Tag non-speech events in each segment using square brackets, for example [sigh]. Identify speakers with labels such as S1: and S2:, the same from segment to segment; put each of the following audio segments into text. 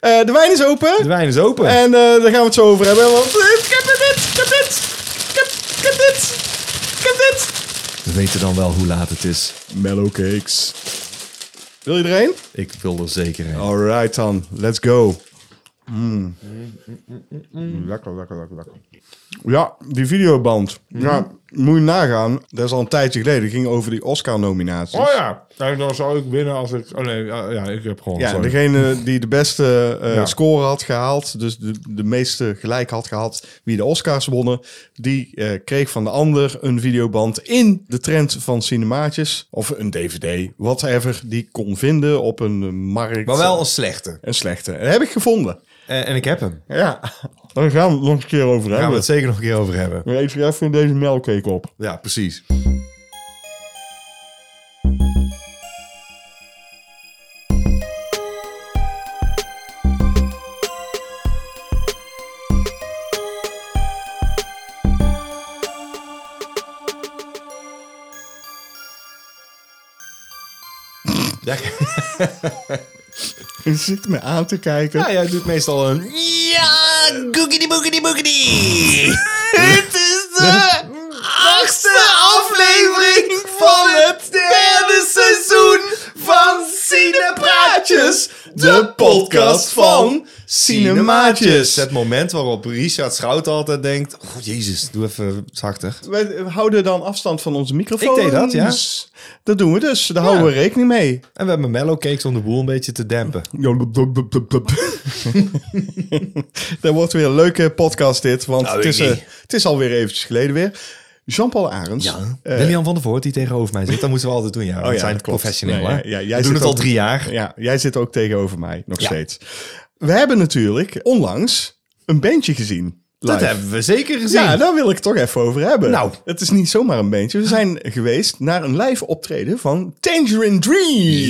S1: Eh, de wijn is open.
S2: De wijn is open.
S1: En eh, daar gaan we het zo over hebben. Want eh, ik heb dit, ik heb dit, ik heb, ik heb dit, ik heb dit.
S2: We weten dan wel hoe laat het is.
S1: Mellow cakes. Wil iedereen?
S2: Ik wil er zeker in.
S1: Alright dan, let's go.
S2: Mm,
S1: Lekker, lekker, lekker, lekker. Ja, die videoband. Ja, moet je nagaan. Dat is al een tijdje geleden. Dat ging over die Oscar-nominaties.
S3: Oh ja. En dan zou ik winnen als ik... Oh nee, ja, ja, ik heb gewoon...
S1: Ja,
S3: sorry.
S1: degene die de beste eh,
S3: Ja.
S1: score had gehaald, dus de, de meeste gelijk had gehad wie de Oscars wonnen, die eh, kreeg van de ander een videoband in de trend van cinemaatjes. Of een dvd, whatever, die kon vinden op een eh, markt.
S2: Maar wel een slechte.
S1: Een slechte. Dat heb ik gevonden.
S2: En, en ik heb hem.
S1: Ja, daar gaan we het nog een keer over
S2: Daar gaan
S1: hebben.
S2: we het zeker nog een keer over hebben.
S1: Maar Eet er even deze melkcake op.
S2: Ja, precies. Ja,
S1: Je zit me aan te kijken.
S2: ja, jij doet meestal een... Ja, googity boogity boogity. Het is de achtste aflevering van het derde seizoen van Cinepraatjes. De podcast van Cinemaatjes. Het moment waarop Richard Schout altijd denkt... Oh, jezus, doe even zachter.
S1: Wij houden dan afstand van onze microfoon.
S2: Ik deed dat, ja.
S1: Dus Dat doen we dus. Daar houden we rekening mee.
S2: En we hebben mellow cakes om de boel een beetje te dempen.
S1: [laughs] Dat wordt weer een leuke podcast dit, want
S2: Nou,
S1: het,
S2: ik
S1: is, eh,
S2: niet.
S1: het is alweer eventjes geleden weer. Jean-Paul Arends. eh, Oh
S2: William van der Voort, die tegenover mij zit, dat moeten we altijd doen. Ja, we
S1: ja,
S2: zijn
S1: dat klopt.
S2: professioneel.
S1: Ja,
S2: hè?
S1: ja, ja, jij zit
S2: we doen het al
S1: ook-
S2: drie jaar.
S1: ja, jij zit ook tegenover mij, nog
S2: Ja.
S1: steeds. We hebben natuurlijk onlangs een bandje gezien.
S2: Dat
S1: live.
S2: hebben we zeker gezien.
S1: Ja, daar wil ik het toch even over hebben.
S2: Nou.
S1: Het is niet zomaar een bandje. We zijn geweest naar een live optreden van Tangerine Dream.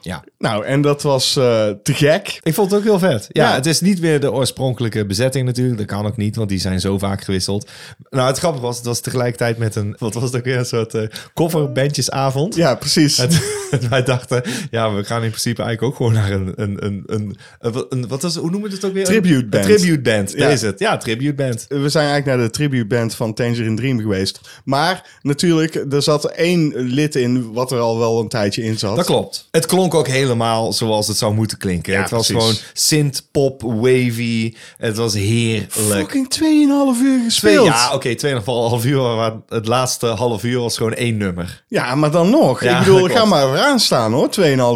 S2: Ja.
S1: Nou, en dat was eh, te gek.
S2: Ik vond het ook heel vet. Ja,
S1: Ja.
S2: het is niet meer de oorspronkelijke bezetting natuurlijk. Dat kan ook niet, want die zijn zo vaak gewisseld. Nou, het grappige was, het was tegelijkertijd met een... Wat was het ook weer? Een soort eh coverbandjesavond. [laughs]
S1: Ja, precies.
S2: Het- wij dachten, ja, we gaan in principe eigenlijk ook gewoon naar een... een, een, een, een, een- wat was, hoe noemen we het ook weer?
S1: Tribute
S2: Een-
S1: band.
S2: Een tribute band,
S1: Ja.
S2: daar is het. Ja, tribute band.
S1: we zijn eigenlijk naar de tributeband van Tangerine Dream geweest. Maar natuurlijk, er zat één lid in wat er al wel een tijdje in zat.
S2: Dat klopt. Het klonk ook helemaal zoals het zou moeten klinken.
S1: Ja,
S2: het was
S1: precies.
S2: gewoon synth, pop, wavy. Het was heerlijk.
S1: Fucking 2,5 uur
S2: Twee,
S1: gespeeld.
S2: ja, oké, tweeënhalf half uur. Maar het laatste half uur was gewoon één nummer.
S1: Ja, maar dan nog. ik
S2: Ja,
S1: bedoel,
S2: dat
S1: ga
S2: klopt.
S1: maar eraan staan hoor,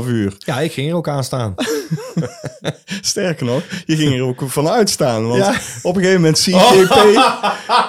S1: 2,5 uur.
S2: Ja, ik ging er ook aan staan.
S1: Sterker nog, je ging er ook vanuit staan. Want
S2: Ja.
S1: op een gegeven moment zie ik JP,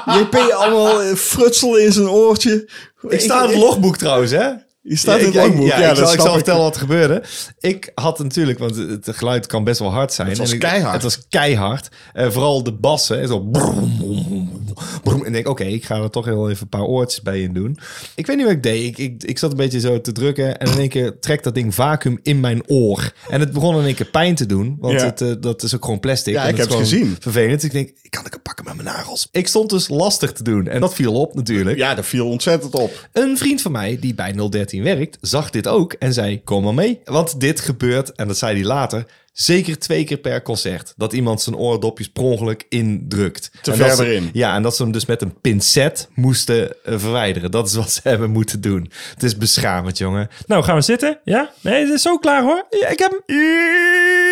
S1: JP allemaal eh, frutselen in zijn oortje.
S2: Ik sta in het logboek trouwens, hè?
S1: Je staat in het
S2: Ik- ik-
S1: logboek, ja,
S2: ik
S1: dat
S2: zal, ik
S1: snap
S2: zal
S1: ik.
S2: vertellen wat er gebeurde. Ik had natuurlijk, want het het geluid kan best wel hard zijn.
S1: was
S2: En ik-
S1: keihard.
S2: Het was keihard. Eh, vooral de bassen. hè, Zo brom, brom, brom. En ik denk, oké, ik ga er toch heel even een paar oortjes bij in doen. Ik weet niet wat ik deed. Ik, ik, ik zat een beetje zo te drukken. En in één keer trekt dat ding vacuüm in mijn oor. En het begon in één keer pijn te doen. Want
S1: Ja.
S2: het, eh, dat is ook gewoon plastic.
S1: Ja,
S2: En
S1: ik
S2: dat is
S1: heb het
S2: gewoon
S1: gezien.
S2: Vervelend. Dus Ik denk, ik kan het pakken met mijn nagels. Ik stond dus lastig te doen. En dat viel op natuurlijk.
S1: Ja, dat viel ontzettend op.
S2: Een vriend van mij die bij 013 werkt, zag dit ook en zei: Kom maar mee. Want dit gebeurt, en dat zei hij later, zeker twee keer per concert. Dat iemand zijn oordopjes per ongeluk indrukt.
S1: Te
S2: En dat
S1: ver
S2: ze-
S1: erin.
S2: Ja, en dat ze hem dus met een pincet moesten eh, verwijderen. Dat is wat ze [laughs] hebben moeten doen. Het is beschamend, jongen.
S4: Nou, gaan we zitten? Ja? Nee, het is zo klaar hoor. Ja, ik heb hem.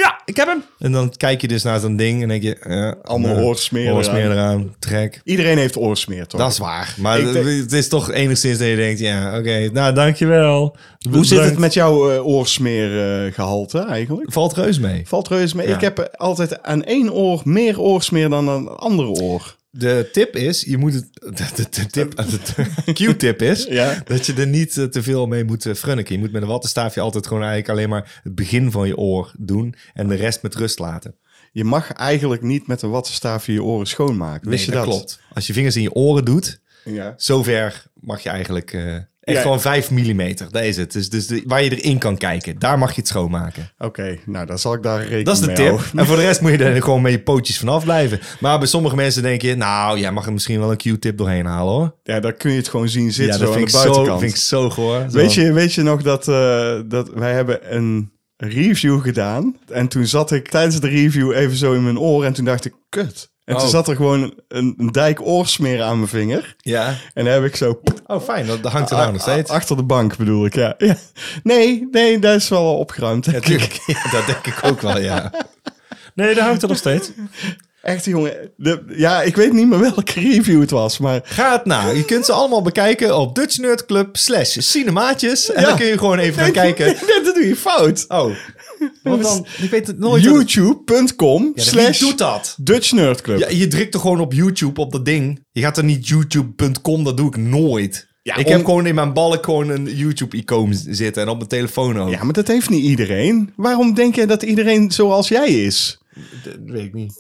S4: Ja, ik heb hem.
S2: En dan kijk je dus naar zo'n ding en denk je: eh,
S1: Allemaal
S2: eh,
S1: oorsmeer
S2: oorsmeer eraan, trek.
S1: Iedereen heeft oorsmeer, toch?
S2: Dat is waar. Maar
S1: Ik denk-
S2: het is toch enigszins dat je denkt: Ja, oké, nou dank je.
S4: Dankjewel.
S1: Hoe zit het
S4: Bedankt.
S1: met jouw eh, oorsmeergehalte eigenlijk?
S2: Valt reus mee.
S1: Valt reuze mee.
S2: Ja.
S1: Ik heb eh, altijd aan één oor meer oorsmeer dan aan een andere oor.
S2: De tip is, je moet het. [laughs] De, de- de tip, [laughs] de Q-tip [laughs] is
S1: Ja.
S2: dat je er niet eh, te veel mee moet eh, frunniken. Je moet met een wattenstaafje altijd gewoon eigenlijk alleen maar het begin van je oor doen en de rest met rust laten.
S1: Je mag eigenlijk niet met een wattenstaafje je oren schoonmaken. Wist
S2: Nee,
S1: je dat?
S2: klopt. Als je vingers in je oren doet,
S1: Ja.
S2: zover mag je eigenlijk. eh,
S1: Ja.
S2: Echt gewoon 5 mm, dat is het. Dus, dus de- waar je erin kan kijken, daar mag je het schoonmaken.
S1: Oké, nou, dan zal ik daar rekening
S2: Dat is de
S1: mee
S2: tip.
S1: houden.
S2: En voor de rest moet je er gewoon met je pootjes vanaf blijven. Maar bij sommige mensen denk je, nou, jij mag er misschien wel een Q-tip doorheen halen hoor.
S1: Ja, daar kun je het gewoon zien
S2: Ja,
S1: zitten
S2: dat
S1: zo aan
S2: vind
S1: de
S2: ik zo,
S1: buitenkant.
S2: vind ik zo goor. Zo.
S1: Weet je, weet je nog dat, eh, dat wij hebben een review gedaan? En toen zat ik tijdens de review even zo in mijn oor en toen dacht ik, kut. En toen
S2: Oh.
S1: zat er gewoon een, een dijk oorsmeer aan mijn vinger.
S2: Ja.
S1: En dan heb ik zo
S2: Oh, fijn, dat dat hangt er nou nog steeds.
S1: a- achter de bank bedoel ik, ja. [laughs] ja. Nee, nee, dat is wel opgeruimd.
S2: Ja, tuurlijk. [laughs] Ja, dat denk ik ook wel, [laughs] ja.
S4: Nee, daar hangt er nog steeds.
S1: Echt jongen, de- ja, ik weet niet meer welke review het was, maar
S2: Ga het na. nou, Je kunt ze allemaal bekijken op Dutch Nerd Club slash cinemaatjes. En dan kun je gewoon [laughs] even gaan
S1: [laughs]
S2: kijken.
S1: dat doe je fout.
S2: Oh, want dan, ik weet het nooit. dat het-
S1: YouTube.com
S2: Ja, wie
S1: slash
S2: doet dat?
S1: Dutch Nerd Club.
S2: Ja, je drukt er gewoon op YouTube, op dat ding. Je gaat er niet youtube.com, dat doe ik nooit. ik
S1: om-
S2: heb gewoon in mijn balk gewoon een YouTube-icoon z- zitten en op mijn telefoon ook.
S1: Ja, maar dat heeft niet iedereen. Waarom denk jij dat iedereen zoals jij is?
S2: dat weet ik niet.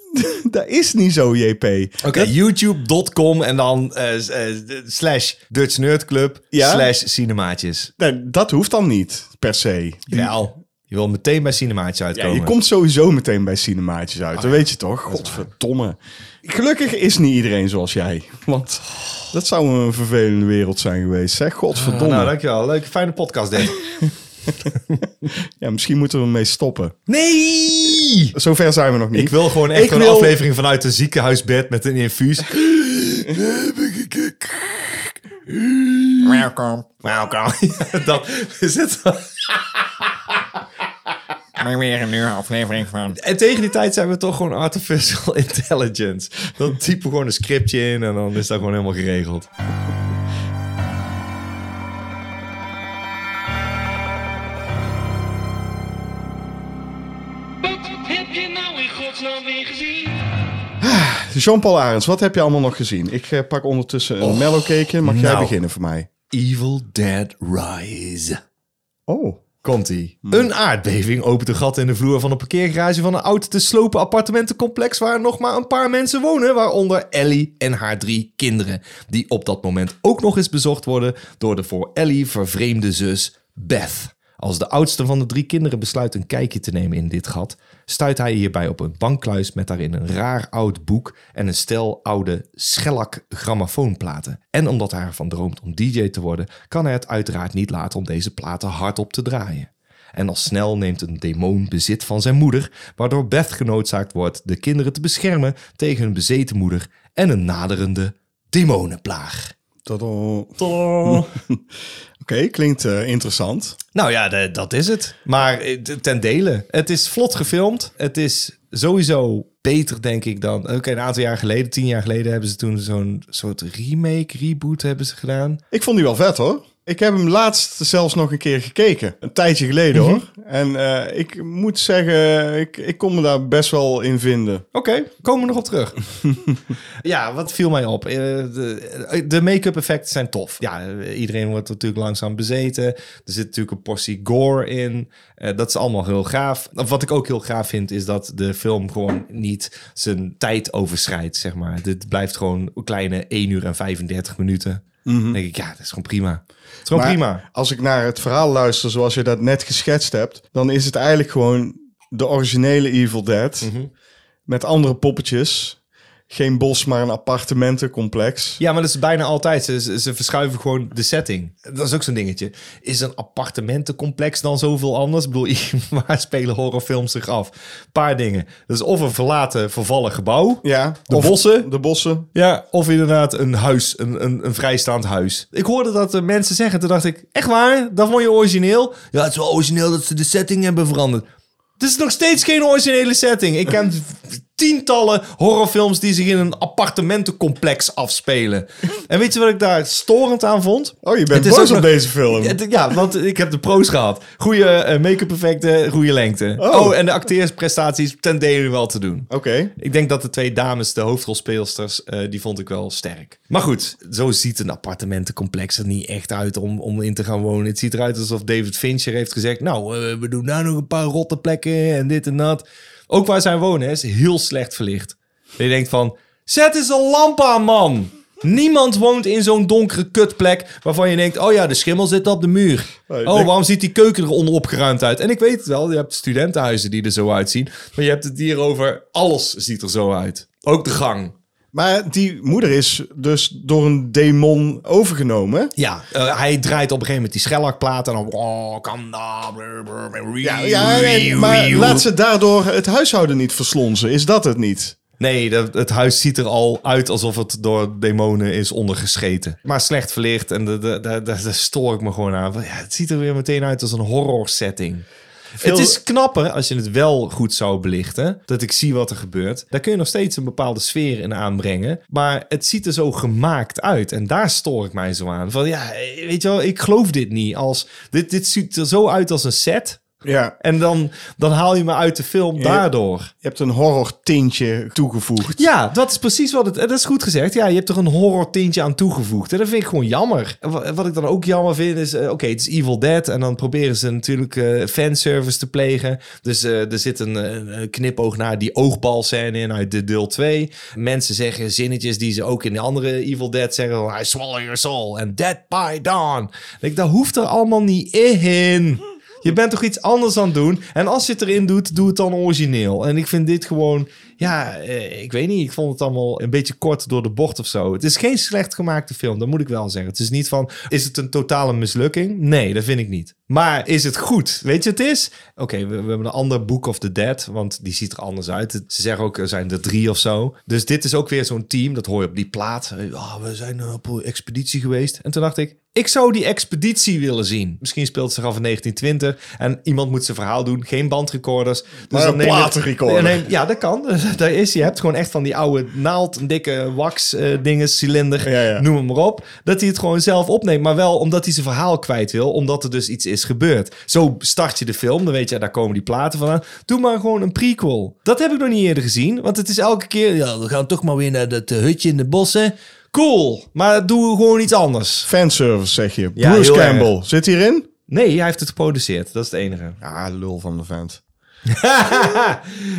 S1: Dat is niet zo, JP.
S2: Oké, youtube.com en dan eh, s- eh, slash Dutch Nerd Club
S1: Ja?
S2: slash cinemaatjes.
S1: Nou, dat hoeft dan niet, per se.
S2: Wel, je wil meteen bij cinemaatjes
S1: Ja,
S2: uitkomen.
S1: je komt sowieso meteen bij cinemaatjes uit, dat weet je toch? Godverdomme. Gelukkig is niet iedereen zoals jij. Want dat zou een vervelende wereld zijn geweest, zeg. Godverdomme.
S2: Nou, dankjewel. Leuke, fijne podcast dit.
S1: [laughs] ja, misschien moeten we ermee stoppen.
S2: Nee!
S1: Zover zijn we nog niet.
S2: Ik wil gewoon echt
S1: Ik
S2: een
S1: wil-
S2: aflevering vanuit een ziekenhuisbed met een infuus. [laughs]
S3: Welkom.
S2: Welkom. Ja, dan is het.
S3: Maar weer een nieuwe aflevering van...
S2: En tegen die tijd zijn we toch gewoon artificial [laughs] intelligence. Dan typen we gewoon een scriptje in en dan is dat gewoon helemaal geregeld.
S5: Wat heb je nou in godsnaam weer gezien?
S1: Jean-Paul Arends, wat heb je allemaal nog gezien? Ik eh, pak ondertussen een mellowcakeje. Mag jij
S2: nou.
S1: beginnen voor mij?
S2: Evil Dead Rise.
S1: Oh,
S2: Komt-ie. Een aardbeving opent een gat in de vloer van een parkeergarage van een oud te slopen appartementencomplex waar nog maar een paar mensen wonen, waaronder Ellie en haar drie kinderen, die op dat moment ook nog eens bezocht worden door de voor Ellie vervreemde zus Beth. Als de oudste van de drie kinderen besluit een kijkje te nemen in dit gat, stuit hij hierbij op een bankkluis met daarin een raar oud boek en een stel oude schellak grammofoonplaten. En omdat hij ervan droomt om DJ te worden, kan hij het uiteraard niet laten om deze platen hardop te draaien. En al snel neemt een demon bezit van zijn moeder, waardoor Beth genoodzaakt wordt de kinderen te beschermen tegen een bezeten moeder en een naderende demonenplaag.
S1: dat al...
S4: Tadaa.
S1: [laughs] Oké, klinkt eh, interessant.
S2: Nou ja, de- dat is het. Maar eh, t- ten dele. Het is vlot gefilmd. Het is sowieso beter, denk ik, dan... Oké, een aantal jaar geleden, tien jaar geleden... hebben ze toen zo'n soort remake, reboot hebben ze gedaan.
S1: Ik vond die wel vet hoor. Ik heb hem laatst zelfs nog een keer gekeken. Een tijdje geleden
S2: Mhm.
S1: hoor. En eh, ik moet zeggen, ik, ik kon me daar best wel in vinden.
S2: Oké, komen we nog op terug. ja, wat viel mij op? Eh, De, eh, de make-up effecten zijn tof. Ja, eh, iedereen wordt natuurlijk langzaam bezeten. Er zit natuurlijk een portie gore in. Eh, dat is allemaal heel gaaf. Of Wat ik ook heel gaaf vind, is dat de film gewoon niet zijn tijd overschrijdt, zeg maar. Dit blijft gewoon een kleine 1 uur en 35 minuten. Dan denk ik, ja, dat is gewoon prima. Het is gewoon
S1: Maar
S2: prima.
S1: als ik naar het verhaal luister zoals je dat net geschetst hebt, dan is het eigenlijk gewoon de originele Evil Dead.
S2: Mhm.
S1: Met andere poppetjes. Geen bos, maar een appartementencomplex.
S2: Ja, maar dat is bijna altijd. Ze- Ze, ze verschuiven gewoon de setting. Dat is ook zo'n dingetje. Is een appartementencomplex dan zoveel anders? Ik bedoel, [laughs] waar spelen horrorfilms zich af? Paar dingen. Dat is of een verlaten, vervallen gebouw.
S1: Ja,
S2: De
S1: of-
S2: bossen?
S1: De bossen.
S2: Ja, of inderdaad een huis, een, een, een vrijstaand huis. Ik hoorde dat eh, mensen zeggen, toen dacht ik, echt waar? Dat vond je origineel? Ja, het is wel origineel dat ze de setting hebben veranderd. Het is nog steeds geen originele setting. Ik ken [laughs] tientallen horrorfilms die zich in een appartementencomplex afspelen. En weet je wat ik daar storend aan vond?
S1: Oh, je
S2: Het
S1: bent
S2: is
S1: boos
S2: ook
S1: op
S2: nog-
S1: deze film.
S2: Het- Ja, want ik heb de pro's gehad. Goede eh, make-up effecten, goede lengte.
S1: Oh.
S2: Oh. en de acteersprestaties ten dele wel te doen.
S1: Oké.
S2: [laughs] Ik denk dat de twee dames, de hoofdrolspeelsters, eh, die vond ik wel sterk. Maar goed, zo ziet een appartementencomplex er niet echt uit om, om in te gaan wonen. Het ziet eruit alsof David Fincher heeft gezegd... nou, eh, we doen daar nog een paar rotte plekken en dit en dat. Ook waar zij wonen hè, is heel slecht verlicht. Dat je denkt van, zet eens een lamp aan, man! Niemand woont in zo'n donkere kutplek waarvan je denkt, oh ja, de schimmel zit op de muur.
S1: Nee, ik
S2: Oh,
S1: denk-
S2: waarom ziet die keuken er onopgeruimd uit? En ik weet het wel, je hebt studentenhuizen die er zo uitzien. Maar je hebt het hier over, alles ziet er zo uit. Ook de gang.
S1: Maar die moeder is dus door een demon overgenomen.
S2: Ja, eh, hij draait op een gegeven moment die schellakplaat en dan... Oh, kan dat...
S1: Ja, ja nee, maar laat ze daardoor het huishouden niet verslonzen. Is dat het niet?
S2: Nee, dat, het huis ziet er al uit alsof het door demonen is ondergescheten. Maar slecht verlicht en daar da, da, da, daar stoor ik me gewoon aan. Ja, het ziet er weer meteen uit als een horror setting. Het is knapper als je het wel goed zou belichten. Dat ik zie wat er gebeurt. Daar kun je nog steeds een bepaalde sfeer in aanbrengen. Maar het ziet er zo gemaakt uit. En daar stoor ik mij zo aan. Van ja, weet je wel, ik geloof dit niet. Als, dit, dit ziet er zo uit als een set.
S1: Ja,
S2: En dan, dan haal je me uit de film daardoor.
S1: je hebt een horror tintje toegevoegd.
S2: Ja, dat is precies wat het... en Dat is goed gezegd. Ja, je hebt er een horror tintje aan toegevoegd. En dat vind ik gewoon jammer. En wa- Wat ik dan ook jammer vind is... eh, Oké, het is Evil Dead. En dan proberen ze natuurlijk eh, fanservice te plegen. Dus eh, er zit een, eh, een knipoog naar die oogbalscène in uit de deel 2. Mensen zeggen zinnetjes die ze ook in de andere Evil Dead zeggen. I swallow your soul. And dead by dawn. Dan denk ik, dat hoeft er allemaal niet in. Je bent toch iets anders aan het doen? En als je het erin doet, doe het dan origineel. En ik vind dit gewoon... Ja, eh, ik weet niet. Ik vond het allemaal een beetje kort door de bocht of zo. Het is geen slecht gemaakte film, dat moet ik wel zeggen. Het is niet van, is het een totale mislukking? Nee, dat vind ik niet. Maar is het goed? Weet je wat het is? Oké, we, we hebben een ander Book of the Dead, want die ziet er anders uit. Het- Ze zeggen ook, er zijn er drie of zo. Dus dit is ook weer zo'n team, dat hoor je op die plaat. Eh, ah, we zijn eh, op een expeditie geweest. En toen dacht ik, ik zou die expeditie willen zien. Misschien speelt ze zich af in 1920 en iemand moet zijn verhaal doen. Geen bandrecorders. Dus
S1: Maar een
S2: neem je- [laughs]
S1: platenrecorder.
S2: neem- ja, dat kan. [laughs] Daar is, je hebt gewoon echt van die oude naald, een dikke wax eh, dingen, cilinder,
S1: Ja, ja.
S2: noem hem maar op. Dat hij het gewoon zelf opneemt, maar wel omdat hij zijn verhaal kwijt wil, omdat er dus iets is gebeurd. Zo start je de film, dan weet je, daar komen die platen vandaan. Doe maar gewoon een prequel. Dat heb ik nog niet eerder gezien, want het is elke keer, ja, we gaan toch maar weer naar dat eh, hutje in de bossen. Cool, maar doe gewoon iets anders.
S1: Fanservice, zeg je.
S2: Ja,
S1: Bruce
S2: heel
S1: Campbell zit hierin?
S2: Nee, hij heeft het geproduceerd, dat is het enige.
S1: Ja, lul van de vent.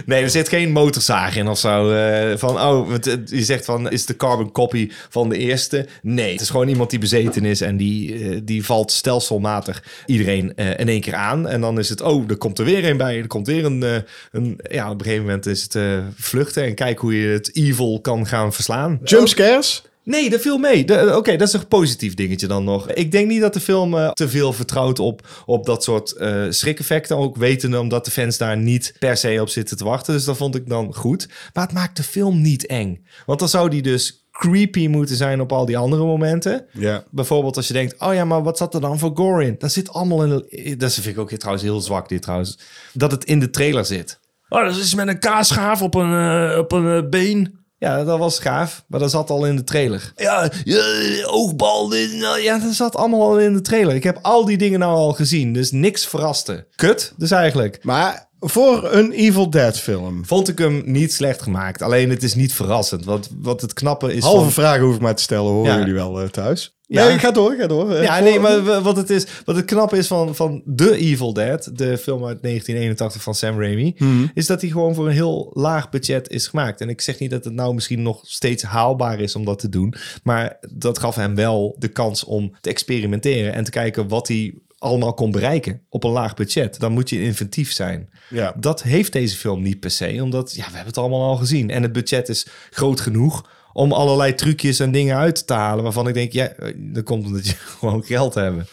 S2: nee, er zit geen motorzaag in of zo. eh, van, oh, want, eh, je zegt van, is de carbon copy van de eerste? Nee, het is gewoon iemand die bezeten is en die, eh, die valt stelselmatig iedereen eh, in één keer aan. En dan is het, oh, er komt er weer een bij, er komt weer een... eh, een ja, op een gegeven moment is het eh, vluchten en kijk hoe je het evil kan gaan verslaan.
S1: Jumpscares?
S2: Nee, dat viel mee. De- eh, Oké, dat is een positief dingetje dan nog. Ik denk niet dat de film eh, te veel vertrouwt op, op dat soort eh schrikeffecten. Ook wetende omdat de fans daar niet per se op zitten te wachten. Dus dat vond ik dan goed. Maar het maakt de film niet eng. Want dan zou die dus creepy moeten zijn op al die andere momenten.
S1: Ja.
S2: Bijvoorbeeld als je denkt, oh ja, maar wat zat er dan voor gore in? Dat zit allemaal in... de- Dat vind ik ook trouwens heel zwak, dit trouwens. Dat het in de trailer zit.
S4: Oh, dat is met een kaasschaaf op een, eh, op een eh, been.
S2: Ja, dat was gaaf, maar dat zat al in de trailer. Ja, ja, oogbal, dit, nou, ja, dat zat allemaal al in de trailer. Ik heb al die dingen nou al gezien, dus niks verraste. Kut, dus eigenlijk.
S1: Maar voor een Evil Dead film.
S2: Vond ik hem niet slecht gemaakt, alleen het is niet verrassend. Want wat het knappe is
S1: Halve
S2: van-
S1: vragen hoef ik maar te stellen, horen
S2: Ja.
S1: jullie wel eh, thuis?
S2: Ja.
S1: Nee, ga door, ga door. Eh,
S2: Ja,
S1: voor-
S2: nee, maar w- wat het, is, wat het knappe is van, van The Evil Dead, de film uit 1981 van Sam Raimi,
S1: Mhm.
S2: is dat die gewoon voor een heel laag budget is gemaakt. En ik zeg niet dat het nou misschien nog steeds haalbaar is om dat te doen, maar dat gaf hem wel de kans om te experimenteren en te kijken wat hij allemaal kon bereiken op een laag budget. Dan moet je inventief zijn.
S1: Ja.
S2: Dat heeft deze film niet per se, omdat ja, we hebben het allemaal al gezien. En het budget is groot genoeg om allerlei trucjes en dingen uit te halen... waarvan ik denk, ja, eh, dat komt omdat je [laughs] gewoon geld hebben.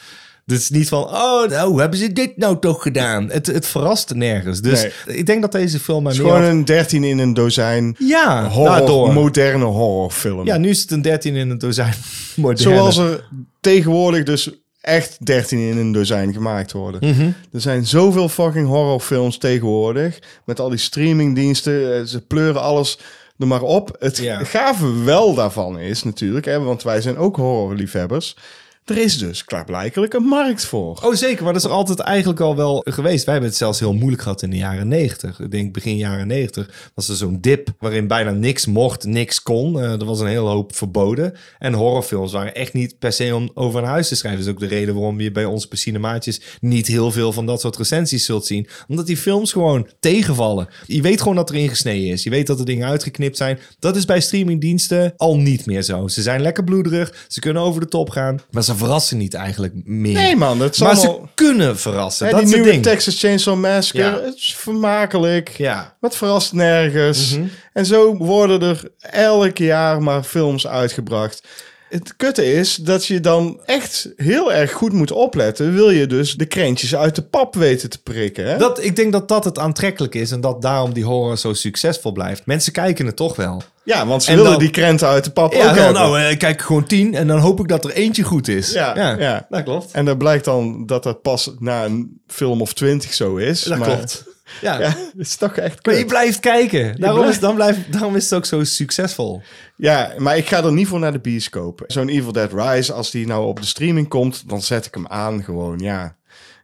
S2: Dus het is niet van, oh, nou, hoe hebben ze dit nou toch gedaan? Het, het verrast nergens. Dus ik denk dat deze film mij
S1: Het
S2: meer...
S1: is gewoon een 13 in een dozijn
S2: Ja,
S1: horror,
S2: daardoor.
S1: moderne horrorfilm.
S2: ja, nu is het een 13 in een dozijn [laughs] moderne.
S1: Zoals er tegenwoordig dus echt 13 in een dozijn gemaakt worden.
S2: Mhm.
S1: Er zijn zoveel fucking horrorfilms tegenwoordig. Met al die streamingdiensten. eh, Ze pleuren alles er maar op. Het
S2: Ja.
S1: gave wel daarvan is natuurlijk. Hè, want wij zijn ook horrorliefhebbers. Er is dus klaarblijkelijk een markt voor.
S2: Oh, zeker. Maar dat is er altijd eigenlijk al wel geweest. Wij hebben het zelfs heel moeilijk gehad in de jaren 90. Ik denk begin jaren 90 was er zo'n dip waarin bijna niks mocht, niks kon. Eh, er was een hele hoop verboden. En horrorfilms waren echt niet per se om over een huis te schrijven. Dat is ook de reden waarom je bij ons per cinemaatjes niet heel veel van dat soort recensies zult zien. Omdat die films gewoon tegenvallen. Je weet gewoon dat er ingesneden is. Je weet dat er dingen uitgeknipt zijn. Dat is bij streamingdiensten al niet meer zo. Ze zijn lekker bloederig. Ze kunnen over de top gaan. Maar ze verrassen niet eigenlijk meer
S1: Nee man, dat is
S2: maar
S1: allemaal...
S2: ze kunnen verrassen.
S1: Hè,
S2: dat
S1: die
S2: is het
S1: nieuwe
S2: ding.
S1: Texas Chainsaw Massacre,
S2: Ja.
S1: het is vermakelijk.
S2: Ja.
S1: Wat verrast nergens.
S2: Mhm.
S1: En zo worden er elk jaar maar films uitgebracht. Het kutte is dat je dan echt heel erg goed moet opletten. Wil je dus de krentjes uit de pap weten te prikken. Hè?
S2: Dat, ik denk dat dat het aantrekkelijk is en dat daarom die horror zo succesvol blijft. Mensen kijken het toch wel.
S1: ja, want ze
S2: En
S1: willen
S2: dan-
S1: die krenten uit de pap ook
S2: Ja, wel,
S1: hebben.
S2: nou, eh, ik kijk gewoon tien en dan hoop ik dat er eentje goed is.
S1: Ja, ja.
S2: dat klopt.
S1: en dan blijkt dan dat dat pas na een film of twintig zo is.
S2: Dat
S1: maar-
S2: klopt. Ja.
S1: Ja, [laughs] dat is toch echt
S2: Maar
S1: kut.
S2: je blijft kijken. Daarom,
S1: blijft-
S2: Is, dan blijft, daarom is het ook zo succesvol.
S1: Ja, maar ik ga er niet voor naar de bioscoop. Zo'n Evil Dead Rise, als die nou op de streaming komt, dan zet ik hem aan gewoon, ja.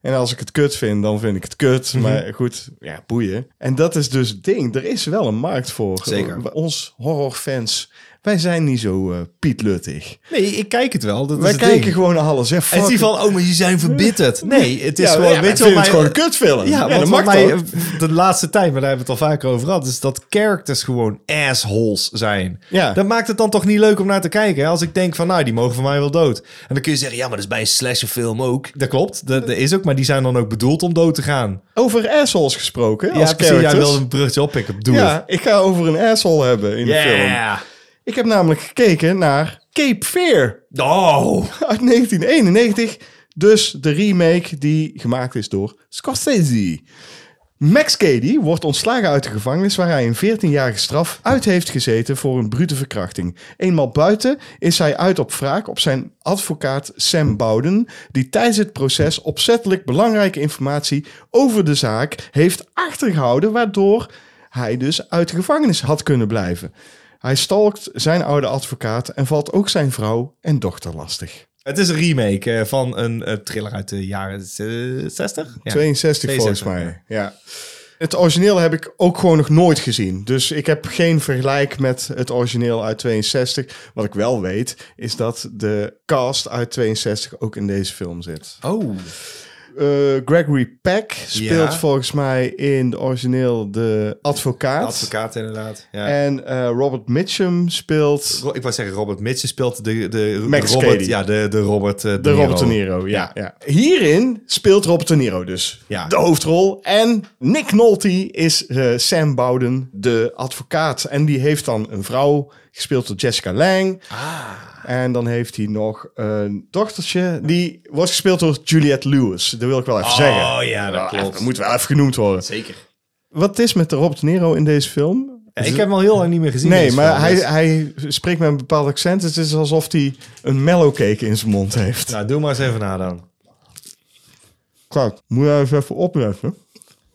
S1: En als ik het kut vind, dan vind ik het kut.
S2: Mhm.
S1: Maar goed, ja, boeien. En dat is dus het ding. Er is wel een markt voor. eh,
S2: Zeker.
S1: Ons horrorfans, wij zijn niet zo eh pietluttig.
S2: Nee, ik kijk het wel. Dat is
S1: Wij
S2: het
S1: kijken
S2: ding.
S1: gewoon naar alles. Hè?
S2: En het is
S1: Fuck.
S2: niet van, oh, maar je zijn verbitterd. Nee, het is
S1: Ja,
S2: gewoon,
S1: ja, ik
S2: weet je wel,
S1: vind het gewoon een kutfilm.
S2: Ja, want
S1: dat
S2: wat
S1: mag
S2: mij
S1: toch?
S2: eh, de laatste tijd, maar daar hebben we het al vaker over gehad, is dat characters gewoon assholes zijn.
S1: Ja.
S2: Dat maakt het dan toch niet leuk om naar te kijken. hè? Als ik denk van, nou, die mogen van mij wel dood. En dan kun je zeggen, ja, maar dat is bij een slasherfilm ook. Dat klopt, dat, dat is ook, maar die zijn dan ook bedoeld om dood te gaan.
S1: Over assholes gesproken, als
S2: ja, precies, jij
S1: characters.
S2: wil een bruggetje oppikken, doe
S1: Ja,
S2: het.
S1: ik ga over een asshole hebben in de film.
S2: Yeah.
S1: Ik heb namelijk gekeken naar Cape Fear.
S2: Oh.
S1: uit 1991. Dus de remake die gemaakt is door Scorsese. Max Cady wordt ontslagen uit de gevangenis waar hij een 14-jarige straf uit heeft gezeten voor een brute verkrachting. Eenmaal buiten is hij uit op wraak op zijn advocaat Sam Bowden, die tijdens het proces opzettelijk belangrijke informatie over de zaak heeft achtergehouden, waardoor hij dus uit de gevangenis had kunnen blijven. Hij stalkt zijn oude advocaat en valt ook zijn vrouw en dochter lastig.
S2: Het is een remake eh, van een eh, thriller uit de jaren eh, 60? Ja.
S1: 62 volgens
S2: 62,
S1: mij. Ja. Het origineel heb ik ook gewoon nog nooit gezien. Dus ik heb geen vergelijk met het origineel uit 62. Wat ik wel weet, is dat de cast uit 62 ook in deze film zit.
S2: Oh.
S1: Eh, Gregory Peck speelt
S2: Ja.
S1: volgens mij in de origineel de advocaat.
S2: Advocaat inderdaad. Ja.
S1: En eh, Robert Mitchum speelt
S2: Ro- Ik wou zeggen, Robert Mitchell speelt de, de,
S1: Max
S2: de Robert,
S1: Cady.
S2: ja, de, de Robert eh,
S1: de Robert De Niro. Ja, ja. Hierin speelt Robert De Niro dus
S2: Ja.
S1: de hoofdrol. En Nick Nolte is eh, Sam Bowden, de advocaat. En die heeft dan een vrouw, gespeeld door Jessica Lang.
S2: Ah.
S1: En dan heeft hij nog een dochtertje. Die wordt gespeeld door Juliette Lewis. Dat wil ik wel even zeggen.
S2: Oh ja, dat
S1: Nou,
S2: klopt.
S1: Dat moet wel even genoemd worden.
S2: Zeker.
S1: Wat is met de Robert De Niro in deze film?
S2: ik heb hem al heel lang niet meer gezien.
S1: Nee,
S2: deze
S1: maar
S2: film,
S1: hij,
S2: dus-
S1: hij spreekt met een bepaald accent. Het is alsof hij een mellowcake in zijn mond heeft.
S2: Nou, doe maar eens even na dan.
S1: Kijk, moet jij eens even opletten.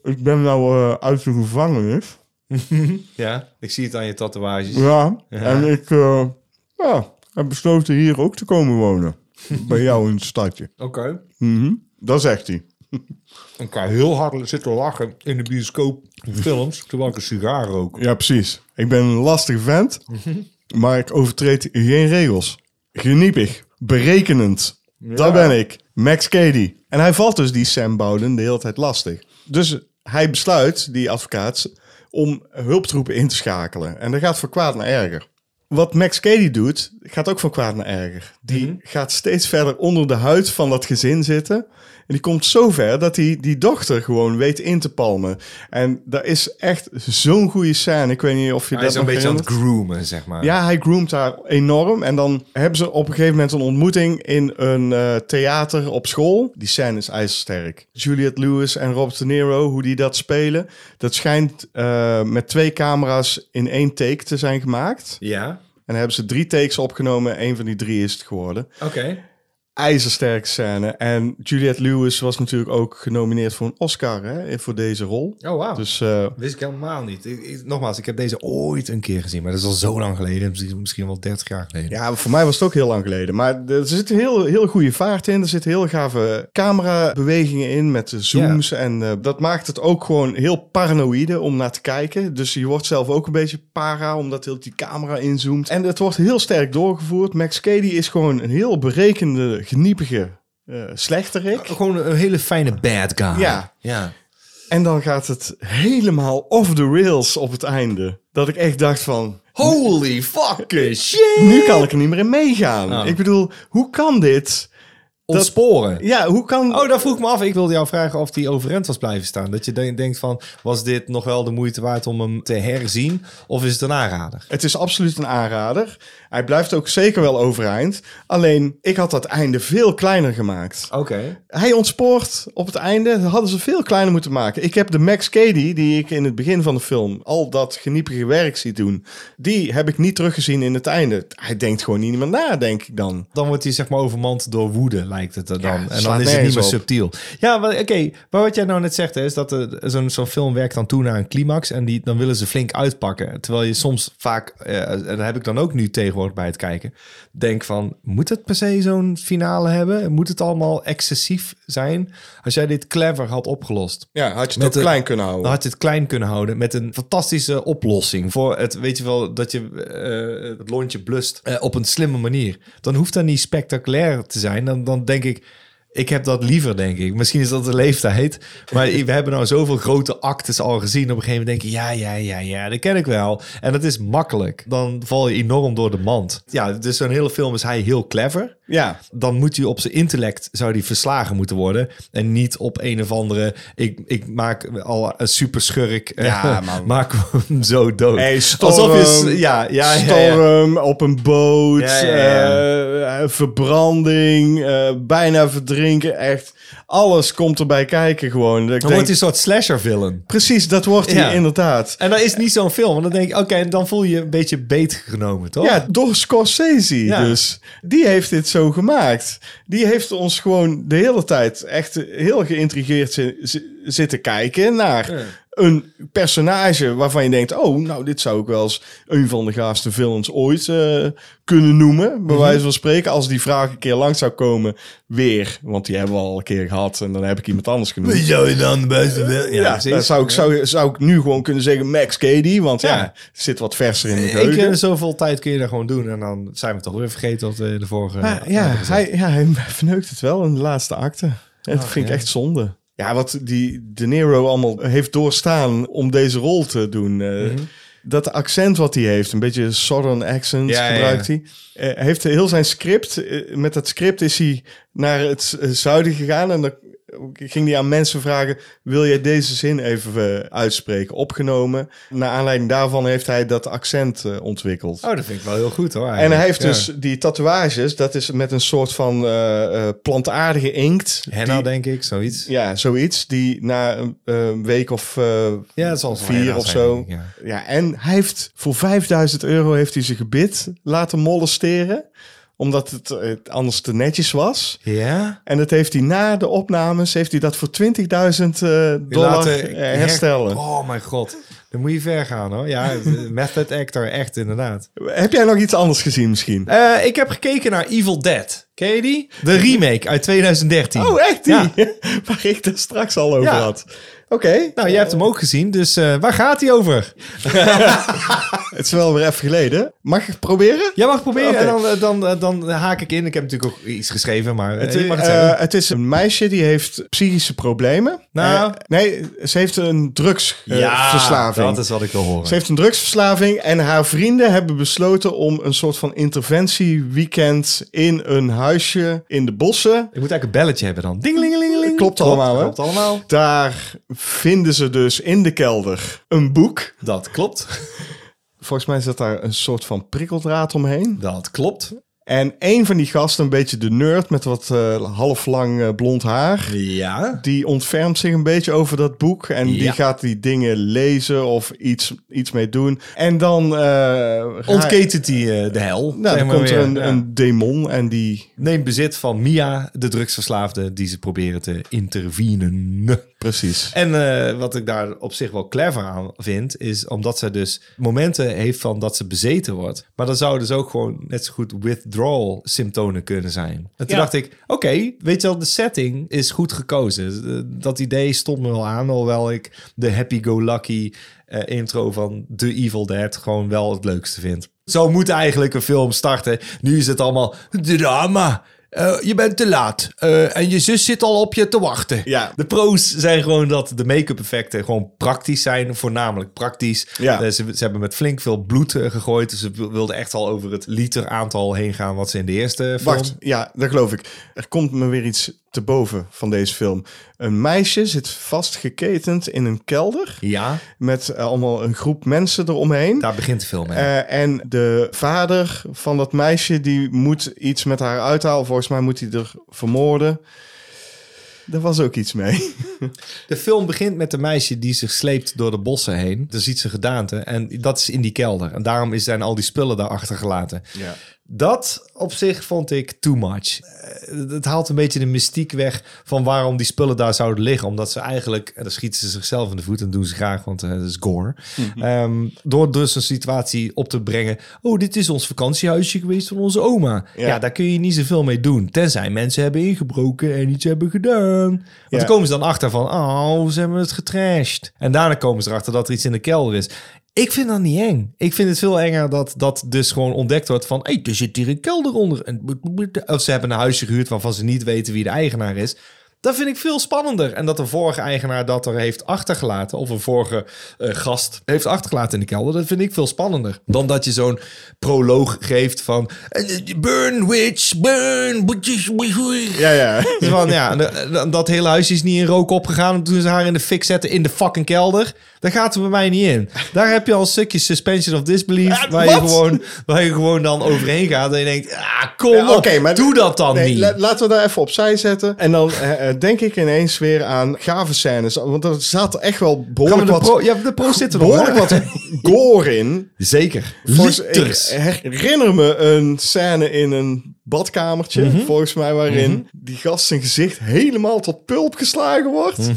S1: Ik ben nou eh, uit de gevangenis.
S2: Ja, ik zie het aan je tatoeages.
S1: Ja, en ik eh, ja, heb besloten hier ook te komen [laughs] wonen. Bij jou in het stadje.
S2: Oké.
S1: Dat zegt hij.
S3: Ik kan heel hard zitten lachen in de bioscoop films, terwijl ik een sigaar rook.
S1: Ja, precies. Ik ben een lastige vent, maar ik overtreed geen regels. Geniepig, berekenend. Dat ben ik, Max Cady. En hij valt dus die Sam Bowden de hele tijd lastig. Dus hij besluit, die advocaat, om hulptroepen in te schakelen. En dat gaat van kwaad naar erger. Wat Max Cady doet, gaat ook van kwaad naar erger. Die
S2: Mhm.
S1: gaat steeds verder onder de huid van dat gezin zitten. En die komt zo ver dat hij die dochter gewoon weet in te palmen. En daar is echt zo'n goede scène. Ik weet niet of je
S2: Hij
S1: dat
S2: is een
S1: nog
S2: beetje aan het
S1: herinnert.
S2: groomen, zeg maar.
S1: Ja, hij groomt haar enorm. En dan hebben ze op een gegeven moment een ontmoeting in een eh, theater op school. Die scène is ijzersterk. Juliette Lewis en Robert De Niro, hoe die dat spelen. Dat schijnt eh, met twee camera's in één take te zijn gemaakt.
S2: Ja,
S1: En dan hebben ze drie takes opgenomen. Eén van die drie is het geworden.
S2: oké.
S1: ijzersterke scène. En Juliette Lewis was natuurlijk ook genomineerd voor een Oscar hè, voor deze rol.
S2: Oh, wauw.
S1: Dus eh,
S2: Wist ik helemaal niet. Ik- ik- nogmaals, ik heb deze ooit een keer gezien, maar dat is al zo lang geleden. Misschien- Misschien wel 30 jaar geleden.
S1: ja, voor mij was het ook heel lang geleden. Maar er zit een heel, heel goede vaart in. Er zitten heel gave camerabewegingen in met de zooms. En eh, dat maakt het ook gewoon heel paranoïde om naar te kijken. Dus je wordt zelf ook een beetje para, omdat heel die camera inzoomt. En het wordt heel sterk doorgevoerd. Max Cady is gewoon een heel berekende, geniepige eh slechterik.
S2: Gewoon een hele fijne bad guy.
S1: Ja.
S2: ja.
S1: En dan gaat het helemaal off the rails op het einde. Dat ik echt dacht van,
S2: Holy fucking shit!
S1: nu kan ik er niet meer in meegaan.
S2: Oh.
S1: Ik bedoel, hoe kan dit?
S2: Ontsporen.
S1: Ja, hoe kan...
S2: Oh, daar vroeg ik me af. Ik wilde jou vragen of die overeind was blijven staan. Dat je de- denkt van, was dit nog wel de moeite waard om hem te herzien? Of is het een aanrader?
S1: Het is absoluut een aanrader. Hij blijft ook zeker wel overeind. Alleen, ik had dat einde veel kleiner gemaakt.
S2: Oké.
S1: Hij ontspoort op het einde. Dat hadden ze veel kleiner moeten maken. Ik heb de Max Cady, die ik in het begin van de film al dat geniepige werk zie doen... die heb ik niet teruggezien in het einde. Hij denkt gewoon niet meer na, denk ik dan.
S2: Dan wordt hij zeg maar overmand door woede, lijkt het er dan. en
S1: slaat
S2: dan is het niet
S1: nergens
S2: meer
S1: op.
S2: subtiel. Ja, wel, oké. Maar wat jij nou net zegt, hè, is dat eh, zo'n zo'n film werkt dan toe naar een climax. En die, dan willen ze flink uitpakken. Terwijl je soms vaak, eh, en dat heb ik dan ook nu tegenwoordig bij het kijken... denk van, moet het per se zo'n finale hebben? Moet het allemaal excessief zijn? Als jij dit clever had opgelost...
S1: Ja, had je het
S2: Met
S1: ook
S2: de- Nou,
S1: klein kunnen houden.
S2: Dan had je het klein kunnen houden met een fantastische oplossing. Voor het, weet je wel, dat je eh, het lontje blust eh, op een slimme manier. Dan hoeft dat niet spectaculair te zijn. Dan, dan denk ik, ik heb dat liever, denk ik. Misschien is dat de leeftijd.
S1: [laughs]
S2: Maar we hebben nou zoveel grote actes al gezien. Op een gegeven moment denk je, ja, ja, ja, ja, dat ken ik wel. En dat is makkelijk. Dan val je enorm door de mand. Ja, dus zo'n hele film is hij heel clever
S1: Ja,
S2: dan moet hij op zijn intellect zou die verslagen moeten worden. En niet op een of andere. Ik, ik maak al een super schurk. [laughs]
S1: Ja, man.
S2: maak hem zo dood.
S1: Hey, storm.
S2: s- Ja, ja, ja, ja.
S1: storm op een boot,
S2: Ja, ja, ja.
S1: eh, eh, verbranding, eh, bijna verdrinken, echt. Alles komt erbij kijken gewoon. Ik
S2: Dan
S1: denk-
S2: wordt hij een soort slasher villain.
S1: Precies, dat wordt hij
S2: Ja.
S1: inderdaad.
S2: En dat is niet zo'n film. Want dan denk ik, oké, dan voel je je een beetje beetgenomen, toch?
S1: Ja, door Scorsese
S2: Ja.
S1: dus. Die heeft dit zo gemaakt. Die heeft ons gewoon de hele tijd echt heel geïntrigeerd zi- zi- zitten kijken naar een personage waarvan je denkt... oh, nou, dit zou ik wel eens een van de gaafste villains ooit eh, kunnen noemen.
S2: Mhm.
S1: Bij wijze van spreken, als die vraag een keer langs zou komen, weer. Want die hebben we al een keer gehad en dan heb ik iemand anders genoemd.
S2: Zou je dan de beste villain? Ja,
S1: Ja,
S2: precies.
S1: dan zou ik, zou, zou ik nu gewoon kunnen zeggen Max Cady, want ja,
S2: Ja.
S1: er zit wat verser in de
S2: Ik eh,
S1: geheugen.
S2: ken zoveel tijd kun je dat gewoon doen. En dan zijn we toch weer vergeten wat we de vorige...
S1: Maar Ah, ja, hij, ja, hij verneukt het wel in de laatste acte. En
S2: Oh,
S1: dat vind ik echt zonde. Ja, wat die De Niro allemaal heeft doorstaan om deze rol te doen. eh,
S2: Mhm.
S1: Dat accent wat hij heeft, een beetje Southern accent
S2: Ja, ja,
S1: gebruikt hij. Eh, heeft heel zijn script, eh, met dat script is hij naar het z- eh, zuiden gegaan. En dan ging hij aan mensen vragen, wil jij deze zin even eh, uitspreken? Opgenomen. Naar aanleiding daarvan heeft hij dat accent eh, ontwikkeld.
S2: Oh, dat vind ik wel heel goed, hoor.
S1: En hij
S2: eigenlijk.
S1: heeft
S2: Ja.
S1: dus die tatoeages, dat is met een soort van eh, eh, plantaardige inkt.
S2: Henna,
S1: Die-
S2: denk ik, zoiets.
S1: Ja, zoiets. Die na een eh, week of eh,
S2: Ja, dat zal wel
S1: vier
S2: Oh, henna
S1: of
S2: zijn,
S1: zo.
S2: denk ik,
S1: Ja.
S2: ja.
S1: en hij heeft voor 5000 euro heeft hij zijn gebit laten molesteren. Omdat het eh, anders te netjes was.
S2: Ja?
S1: En dat heeft hij na de opnames, heeft hij dat voor 20.000 eh, dollar
S2: Laten
S1: eh,
S2: her-
S1: herstellen.
S2: Oh mijn god. Dan moet je ver gaan hoor. Ja, [laughs] de method actor, echt inderdaad.
S1: Heb jij nog iets anders gezien misschien?
S2: Eh, ik heb gekeken naar Evil Dead. Ken je die? De remake uit 2013.
S1: Oh, echt die?
S2: Ja.
S1: [laughs] Waar ik het straks al over
S2: Ja.
S1: had. Oké.
S2: Nou, jij hebt hem ook gezien, dus eh, waar gaat hij over?
S1: Het is wel weer even geleden. Mag ik het proberen?
S2: Jij mag proberen
S1: Oké.
S2: en dan, eh, dan, eh, dan haak ik in. Ik heb natuurlijk ook iets geschreven, maar eh,
S1: Het,
S2: je mag het
S1: eh,
S2: zeggen.
S1: het is een meisje die heeft psychische problemen.
S2: Nou.
S1: Eh, nee, ze heeft een
S2: ja,
S1: drugsverslaving. Eh,
S2: dat is wat ik wil horen.
S1: Ze heeft een drugsverslaving en haar vrienden hebben besloten om een soort van interventieweekend in een huisje in de bossen.
S2: Ik moet eigenlijk een belletje hebben dan. Dinglingelingeling.
S1: Klopt allemaal, hè?
S2: Klopt allemaal.
S1: Daar vinden ze dus in de kelder een boek.
S2: Dat klopt.
S1: Volgens mij zit daar een soort van prikkeldraad omheen.
S2: Dat klopt.
S1: En een van die gasten, een beetje de nerd met wat eh, half lang eh, blond haar.
S2: Ja.
S1: Die ontfermt zich een beetje over dat boek. En die
S2: Ja.
S1: gaat die dingen lezen of iets, iets mee doen. En dan. eh, ga-
S2: Ontketent hij eh, de hel.
S1: Nou,
S2: zeg
S1: dan
S2: maar
S1: komt er
S2: weer.
S1: een,
S2: Ja.
S1: een demon en die.
S2: Neemt bezit van Mia, de drugsverslaafde, die ze proberen te intervenen.
S1: Precies.
S2: En eh, wat ik daar op zich wel clever aan vind, is omdat ze dus momenten heeft van dat ze bezeten wordt. Maar dan zou dus ook gewoon net zo goed withdrawal symptomen kunnen zijn. En toen
S4: Ja.
S2: dacht ik, oké, weet je wel, de setting is goed gekozen. Eh, Dat idee stond me wel aan, alhoewel ik de happy-go-lucky eh, intro van The Evil Dead gewoon wel het leukste vind. Zo moet eigenlijk een film starten. Nu is het allemaal drama. Eh, je bent te laat. Eh, en je zus zit al op je te wachten.
S1: Ja.
S2: De pro's zijn gewoon dat de make-up effecten gewoon praktisch zijn. Voornamelijk praktisch.
S1: Ja.
S2: Eh, ze, ze hebben met flink veel bloed eh, gegooid. Dus ze w- wilden echt al over het liter aantal heen gaan wat ze in de eerste film...
S1: Wacht, ja, dat geloof ik. Er komt me weer iets te boven van deze film. Een meisje zit vastgeketend in een kelder
S2: Ja,
S1: met eh, allemaal een groep mensen eromheen.
S2: daar begint de film mee.
S1: Eh, en de vader van dat meisje, die moet iets met haar uithalen. Volgens mij moet hij er vermoorden. Daar was ook iets mee.
S2: De film begint met een meisje die zich sleept door de bossen heen. Dan ziet ze gedaante en dat is in die kelder. En daarom is- zijn al die spullen daar achtergelaten.
S1: Ja.
S2: Dat op zich vond ik too much. Eh, Het haalt een beetje de mystiek weg van waarom die spullen daar zouden liggen. Omdat ze eigenlijk, en dan schieten ze zichzelf in de voet en doen ze graag, want eh, dat is gore.
S1: Mhm.
S2: Ehm, door dus een situatie op te brengen. Oh, dit is ons vakantiehuisje geweest van onze oma. Ja,
S1: Ja.
S2: daar kun je niet zoveel mee doen. Tenzij mensen hebben ingebroken en iets hebben gedaan. Want
S1: Ja.
S2: dan komen ze dan achter van, oh, ze hebben het getrashed. En daarna komen ze erachter dat er iets in de kelder is. Ik vind dat niet eng. Ik vind het veel enger dat dat dus gewoon ontdekt wordt van... hey, er zit hier een kelder onder. En boet, boet, boet. Of ze hebben een huisje gehuurd waarvan ze niet weten wie de eigenaar is. Dat vind ik veel spannender. En dat de vorige eigenaar dat er heeft achtergelaten... of een vorige eh, gast heeft achtergelaten in de kelder... dat vind ik veel spannender. Dan dat je zo'n proloog geeft van... eh, Burn, witch, burn, boetjes, boetjes.
S1: Ja, [laughs] ja.
S2: Dus van, ja, de- de- dat hele huisje is niet in rook opgegaan. Toen ze haar in de fik zetten in de fucking kelder. Daar gaat ze bij mij niet in. Daar heb je al een stukje suspension of disbelief.
S1: Eh,
S2: waar, je gewoon, waar je gewoon dan overheen gaat. En je denkt, ah, kom
S1: Ja,
S2: op,
S1: oké, maar-
S2: doe dat dan
S1: Nee,
S2: niet.
S1: la- laten we daar even opzij zetten. En dan eh, eh, denk ik ineens weer aan gave scènes. Want er zat echt wel
S2: Gaan we
S1: behoorlijk
S2: de,
S1: wat,
S2: pro, ja, de pro zit er nog,
S1: behoorlijk
S2: hè? [laughs]
S1: wat gore in.
S2: Zeker.
S1: Volgens-
S2: Liters.
S1: Ik herinner me een scène in een badkamertje,
S2: Mhm.
S1: volgens mij, waarin die gast zijn gezicht helemaal tot pulp geslagen wordt.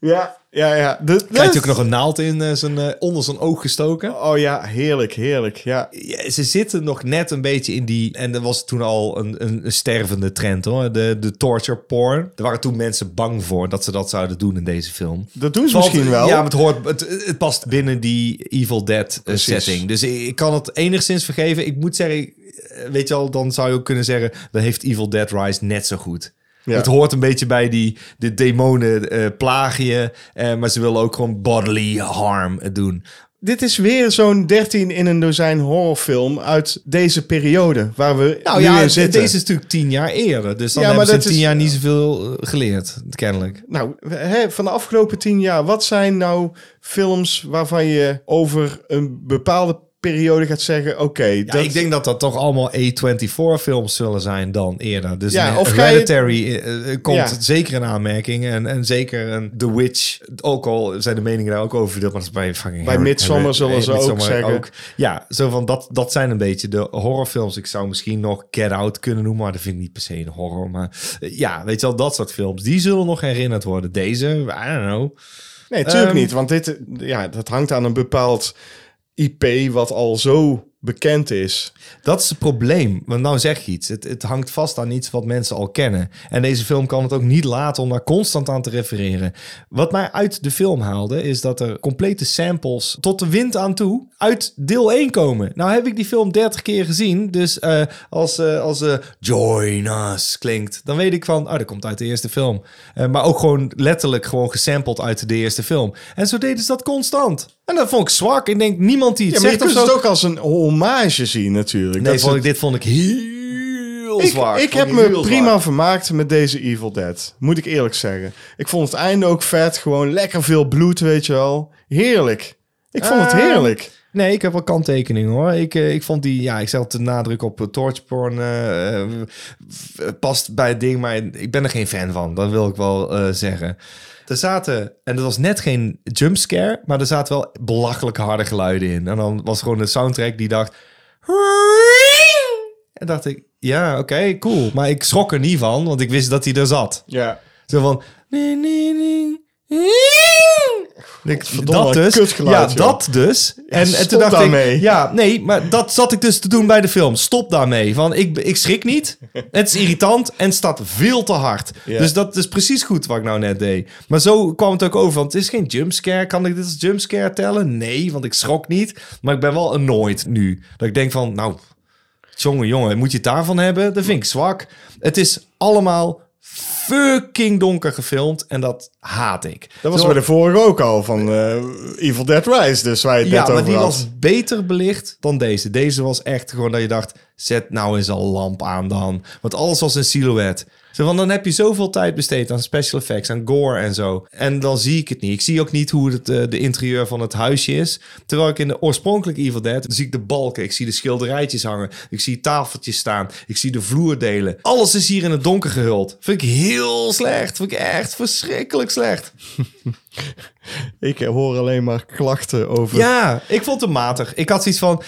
S1: Ja, ja, ja. De,
S2: Mhm. Krijgt ook nog een naald in eh, zijn, eh, onder zijn oog gestoken.
S1: Oh ja, heerlijk, heerlijk. Ja,
S2: Ja, ze zitten nog net een beetje in die. En dat was toen al een, een, een stervende trend hoor. De, de torture porn. Er waren toen mensen bang voor dat ze dat zouden doen in deze film.
S1: dat doen ze
S2: Valt-
S1: misschien wel.
S2: Ja, maar het, hoort, het, het past binnen die Evil Dead eh,
S1: Precies.
S2: setting. Dus ik, ik kan het enigszins vergeven. Ik moet zeggen, ik- eh, weet je al, dan zou je ook kunnen zeggen... dan heeft Evil Dead Rise net zo goed.
S1: Ja.
S2: Het hoort een beetje bij die de demonen eh plagen je... eh, maar ze willen ook gewoon bodily harm eh, doen.
S1: Dit is weer zo'n 13 in een dozijn horrorfilm uit deze periode waar we
S2: Nou
S1: nu
S2: ja,
S1: in
S2: d-
S1: zitten.
S2: deze is natuurlijk tien jaar eerder. Dus dan
S1: Ja, maar
S2: hebben ze in
S1: dat
S2: tien
S1: is-
S2: jaar niet zoveel eh, geleerd, kennelijk.
S1: Nou, hè, van de afgelopen tien jaar, wat zijn nou films waarvan je over een bepaalde periode gaat zeggen: oké,
S2: Ja,
S1: dat-
S2: ik denk dat dat toch allemaal A24-films zullen zijn dan eerder. Dus
S1: Ja,
S2: een
S1: of ga je-
S2: Hereditary eh, eh, komt
S1: Ja.
S2: zeker in aanmerking. En, en zeker een The Witch. Ook al zijn de meningen daar ook over verdeeld. Maar dat is bij fucking
S1: Bij
S2: Her-
S1: Midsommar
S2: Her-
S1: zullen ze ook
S2: Midsommar
S1: zeggen.
S2: ja, zo van dat, dat zijn een beetje de horrorfilms. Ik zou misschien nog Get Out kunnen noemen. Maar dat vind ik niet per se een horror. Maar eh, ja, weet je wel, dat soort films. Die zullen nog herinnerd worden. Deze, I don't know.
S1: Nee, natuurlijk
S2: Ehm,
S1: niet. Want dit, ja, dat hangt aan een bepaald IP wat al zo bekend is.
S2: Dat is het probleem. Want nou zeg je iets. Het, het hangt vast aan iets wat mensen al kennen. En deze film kan het ook niet laten om daar constant aan te refereren. Wat mij uit de film haalde, is dat er complete samples tot de wind aan toe uit deel 1 komen. Nou heb ik die film 30 keer gezien. Dus eh, als, eh, als eh, Join Us klinkt, dan weet ik van, oh, dat komt uit de eerste film. Eh, maar ook gewoon letterlijk gewoon gesampled uit de eerste film. En zo deden ze dat constant. En dat vond ik zwak. Ik denk, niemand die het
S1: Ja, maar je
S2: zegt of
S1: kunt
S2: zo.
S1: het ook als een hommage zien natuurlijk.
S2: Nee,
S1: Dat
S2: vond
S1: ze-
S2: ik, dit vond ik heel
S1: ik,
S2: zwaar.
S1: ik
S2: Vond
S1: heb me
S2: heel
S1: prima
S2: zwaar.
S1: vermaakt met deze Evil Dead. Moet ik eerlijk zeggen. Ik vond het einde ook vet. Gewoon lekker veel bloed, weet je wel. Heerlijk. Ik Ik vond het
S2: Ah.
S1: heerlijk.
S2: Nee, ik heb wel kanttekeningen hoor. Ik, eh, ik vond die, ja, ik zeg altijd de nadruk op torch torchporn eh, eh, f- past bij het ding, maar ik ben er geen fan van. Dat wil ik wel eh, zeggen. Er zaten, en dat was net geen jumpscare, maar er zaten wel belachelijk harde geluiden in. En dan was gewoon de soundtrack die dacht... En dacht ik, ja, oké, cool. Maar ik schrok er niet van, want ik wist dat hij er zat.
S1: Ja.
S2: Zo van... Ik,
S1: Godverdomme,
S2: dat dus. Ja,
S1: kutgeluid, joh.
S2: dat dus. En, en
S1: stop
S2: toen dacht
S1: daarmee.
S2: ik... Ja, nee, maar dat zat ik dus te doen bij de film. Stop daarmee. Van, ik, ik schrik niet. Het is irritant en staat veel te hard.
S1: Ja.
S2: Dus dat is precies goed wat ik nou net deed. Maar zo kwam het ook over. Want het is geen jumpscare. Kan ik dit als jumpscare tellen? Nee, want ik schrok niet. Maar ik ben wel annoyed nu. Dat ik denk van, nou... Jongen, jongen, moet je het daarvan hebben? Dat vind ik zwak. Het is allemaal fucking donker gefilmd en dat haat ik.
S1: Dat was
S2: Zo-
S1: bij de vorige ook al van eh, Evil Dead Rise, dus waar je het
S2: ja,
S1: net
S2: maar
S1: over
S2: die
S1: had.
S2: was beter belicht dan deze. Deze was echt gewoon dat je dacht: zet nou eens al lamp aan dan. Want alles was een silhouet. Zo van, dan heb je zoveel tijd besteed aan special effects, aan gore en zo. En dan zie ik het niet. Ik zie ook niet hoe het, eh, de interieur van het huisje is. Terwijl ik in de oorspronkelijke Evil Dead zie ik de balken, ik zie de schilderijtjes hangen, ik zie tafeltjes staan, ik zie de vloerdelen. Alles is hier in het donker gehuld. Vind ik heel slecht. Vind ik echt verschrikkelijk slecht.
S1: Ik hoor alleen maar klachten over...
S2: Ja, ik vond hem matig. Ik had zoiets van,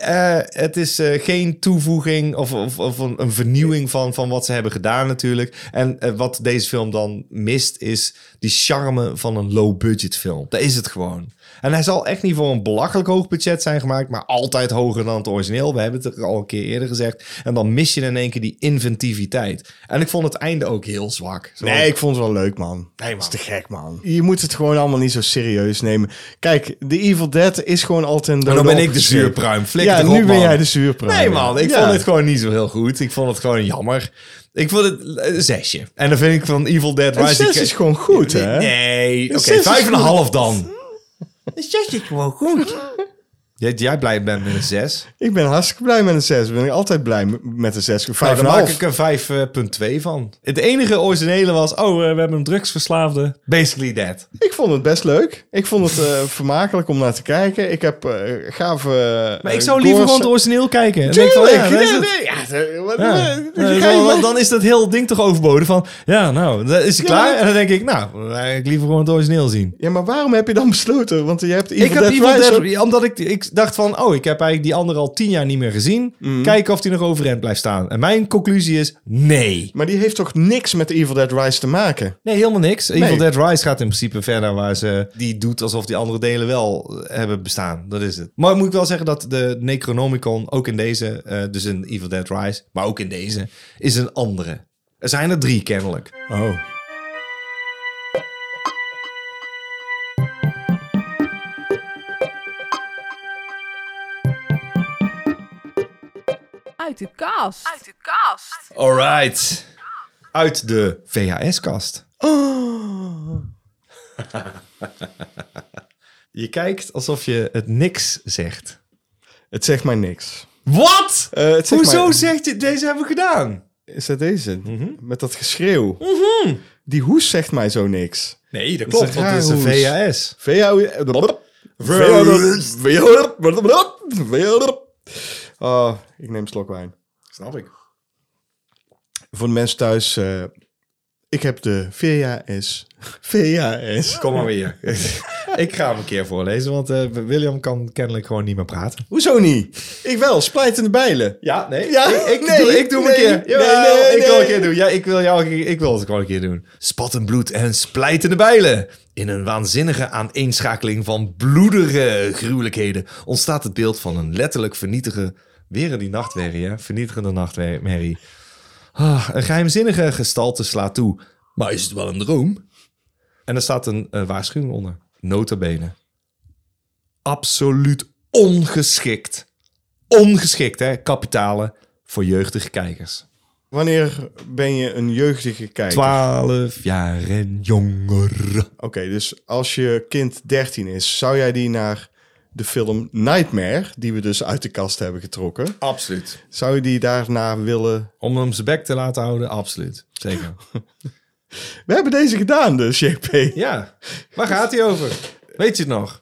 S2: eh, het is eh, geen toevoeging of, of, of een, een vernieuwing van, van wat ze hebben gedaan natuurlijk. En eh, wat deze film dan mist is die charme van een low-budget film. Dat is het gewoon. En hij zal echt niet voor een belachelijk hoog budget zijn gemaakt, maar altijd hoger dan het origineel. We hebben het er al een keer eerder gezegd. En dan mis je in één keer die inventiviteit. En ik vond het einde ook heel zwak. Zo-
S1: Nee, ik vond het wel leuk, man.
S2: Nee, man.
S1: Dat is te gek, man. Je moet het gewoon allemaal niet zo serieus nemen. Kijk, de Evil Dead is gewoon altijd een
S2: Maar dan
S1: dode
S2: ben ik de
S1: opgeschreven.
S2: zuurpruim. Flikker
S1: Ja,
S2: erop,
S1: nu ben
S2: man.
S1: jij de zuurpruim.
S2: Nee, man. Ik
S1: Ja.
S2: vond het gewoon niet zo heel goed. Ik vond het gewoon jammer. Ik vond het eh, een zesje. En dan vind ik van Evil Dead
S1: Een
S2: Rise...
S1: zes
S2: ik-
S1: is gewoon goed, hè?
S2: Nee.
S1: zes
S2: Oké,
S1: is
S2: vijf en een
S1: goed.
S2: half dan. Een zes is gewoon goed. Jij, jij blij bent met een zes?
S1: Ik ben hartstikke blij met een 6. Ben ik altijd blij m- met een 6.
S2: Nou,
S1: Vijf
S2: dan
S1: en
S2: maak
S1: half.
S2: ik er 5.2 van. Het enige
S4: enige originele was, oh, eh, we hebben een drugsverslaafde.
S2: basically that.
S1: Ik vond het best leuk. Ik vond het eh, [laughs] vermakelijk om naar te kijken. Ik heb eh gave...
S4: Maar
S2: Eh,
S4: ik zou liever gewoon het origineel kijken. Dan denk ik van,
S1: Tuurlijk!
S4: ja,
S1: Ja,
S4: daar is het.
S1: nee, ja, eh, wat-
S4: Ja.
S1: eh,
S4: Nee,
S1: dan
S4: dat is
S1: ga
S4: wel-
S1: je maar-
S2: Want dan is dat heel ding toch overbodig van... Ja, nou, dan is hij
S1: Ja.
S2: klaar. En dan denk ik, nou, eh, ik liever gewoon het origineel zien.
S1: Ja, maar waarom heb je dan besloten? Want je hebt Evil
S2: Ik heb
S1: Dead
S2: Evil
S1: Rise ook-
S2: Dead, omdat ik, ik dacht van, oh, ik heb eigenlijk die andere al tien jaar niet meer gezien. Kijken of die nog overeind blijft staan. En mijn conclusie is, nee.
S1: Maar die heeft toch niks met Evil Dead Rise te maken?
S2: Nee, helemaal niks.
S1: Nee.
S2: Evil Dead Rise gaat in principe verder waar ze die doet alsof die andere delen wel eh, hebben bestaan. Dat is het. Maar moet ik wel zeggen dat de Necronomicon, ook in deze, eh, dus in Evil Dead Rise, maar ook in deze, is een andere. Er zijn er drie kennelijk.
S1: Oh.
S6: Uit de kast. Uit de kast.
S2: Alright. Uit de [laughs] VHS-kast. je kijkt alsof je het niks zegt.
S1: Het zegt mij niks.
S2: Wat?
S1: Eh, het zegt
S2: Hoezo
S1: mij-
S2: zegt je deze hebben we gedaan?
S1: Is dat deze? Met dat geschreeuw. Mhm. Die hoes zegt mij zo niks.
S2: Nee, dat
S1: klopt, want het is een
S2: VHS.
S1: VO... Oh, ik neem een slok wijn.
S2: Snap ik.
S1: Voor de mensen thuis... eh, ik heb de VHS. VHS.
S2: Dus Kom maar weer. [laughs] ik ga hem een keer voorlezen, want eh, William kan kennelijk gewoon niet meer praten.
S1: Hoezo niet? Ik wel, splijtende bijlen.
S2: Ja, nee.
S1: Ja,
S2: ik, ik
S1: nee,
S2: doe, ik doe hem
S1: nee,
S2: een keer.
S1: nee,
S2: Jawel,
S1: nee,
S2: ik wil
S1: nee.
S2: een keer doen. Ja, ik wil, jou, ik, ik wil het gewoon een keer doen. Spattend bloed en splijtende bijlen. In een waanzinnige aaneenschakeling van bloedige gruwelijkheden ontstaat het beeld van een letterlijk vernietige... Weer in die nachtmerrie, hè? Vernietigende nachtmerrie. Ah, een geheimzinnige gestalte slaat toe. Maar is het wel een droom? En er staat een eh, waarschuwing onder. Nota bene. Absoluut ongeschikt ongeschikt, hè? Kapitalen voor jeugdige kijkers.
S1: Wanneer ben je een jeugdige kijker?
S2: 12 jaar en jonger.
S1: Oké, dus als je kind 13 is, zou jij die naar de film Nightmare, die we dus uit de kast hebben getrokken,
S2: Absoluut.
S1: zou je die daarna willen?
S2: Om hem zijn bek te laten houden, absoluut. [laughs] Zeker.
S1: We hebben deze gedaan, dus [laughs] JP.
S2: ja, waar gaat hij over? Weet je het nog?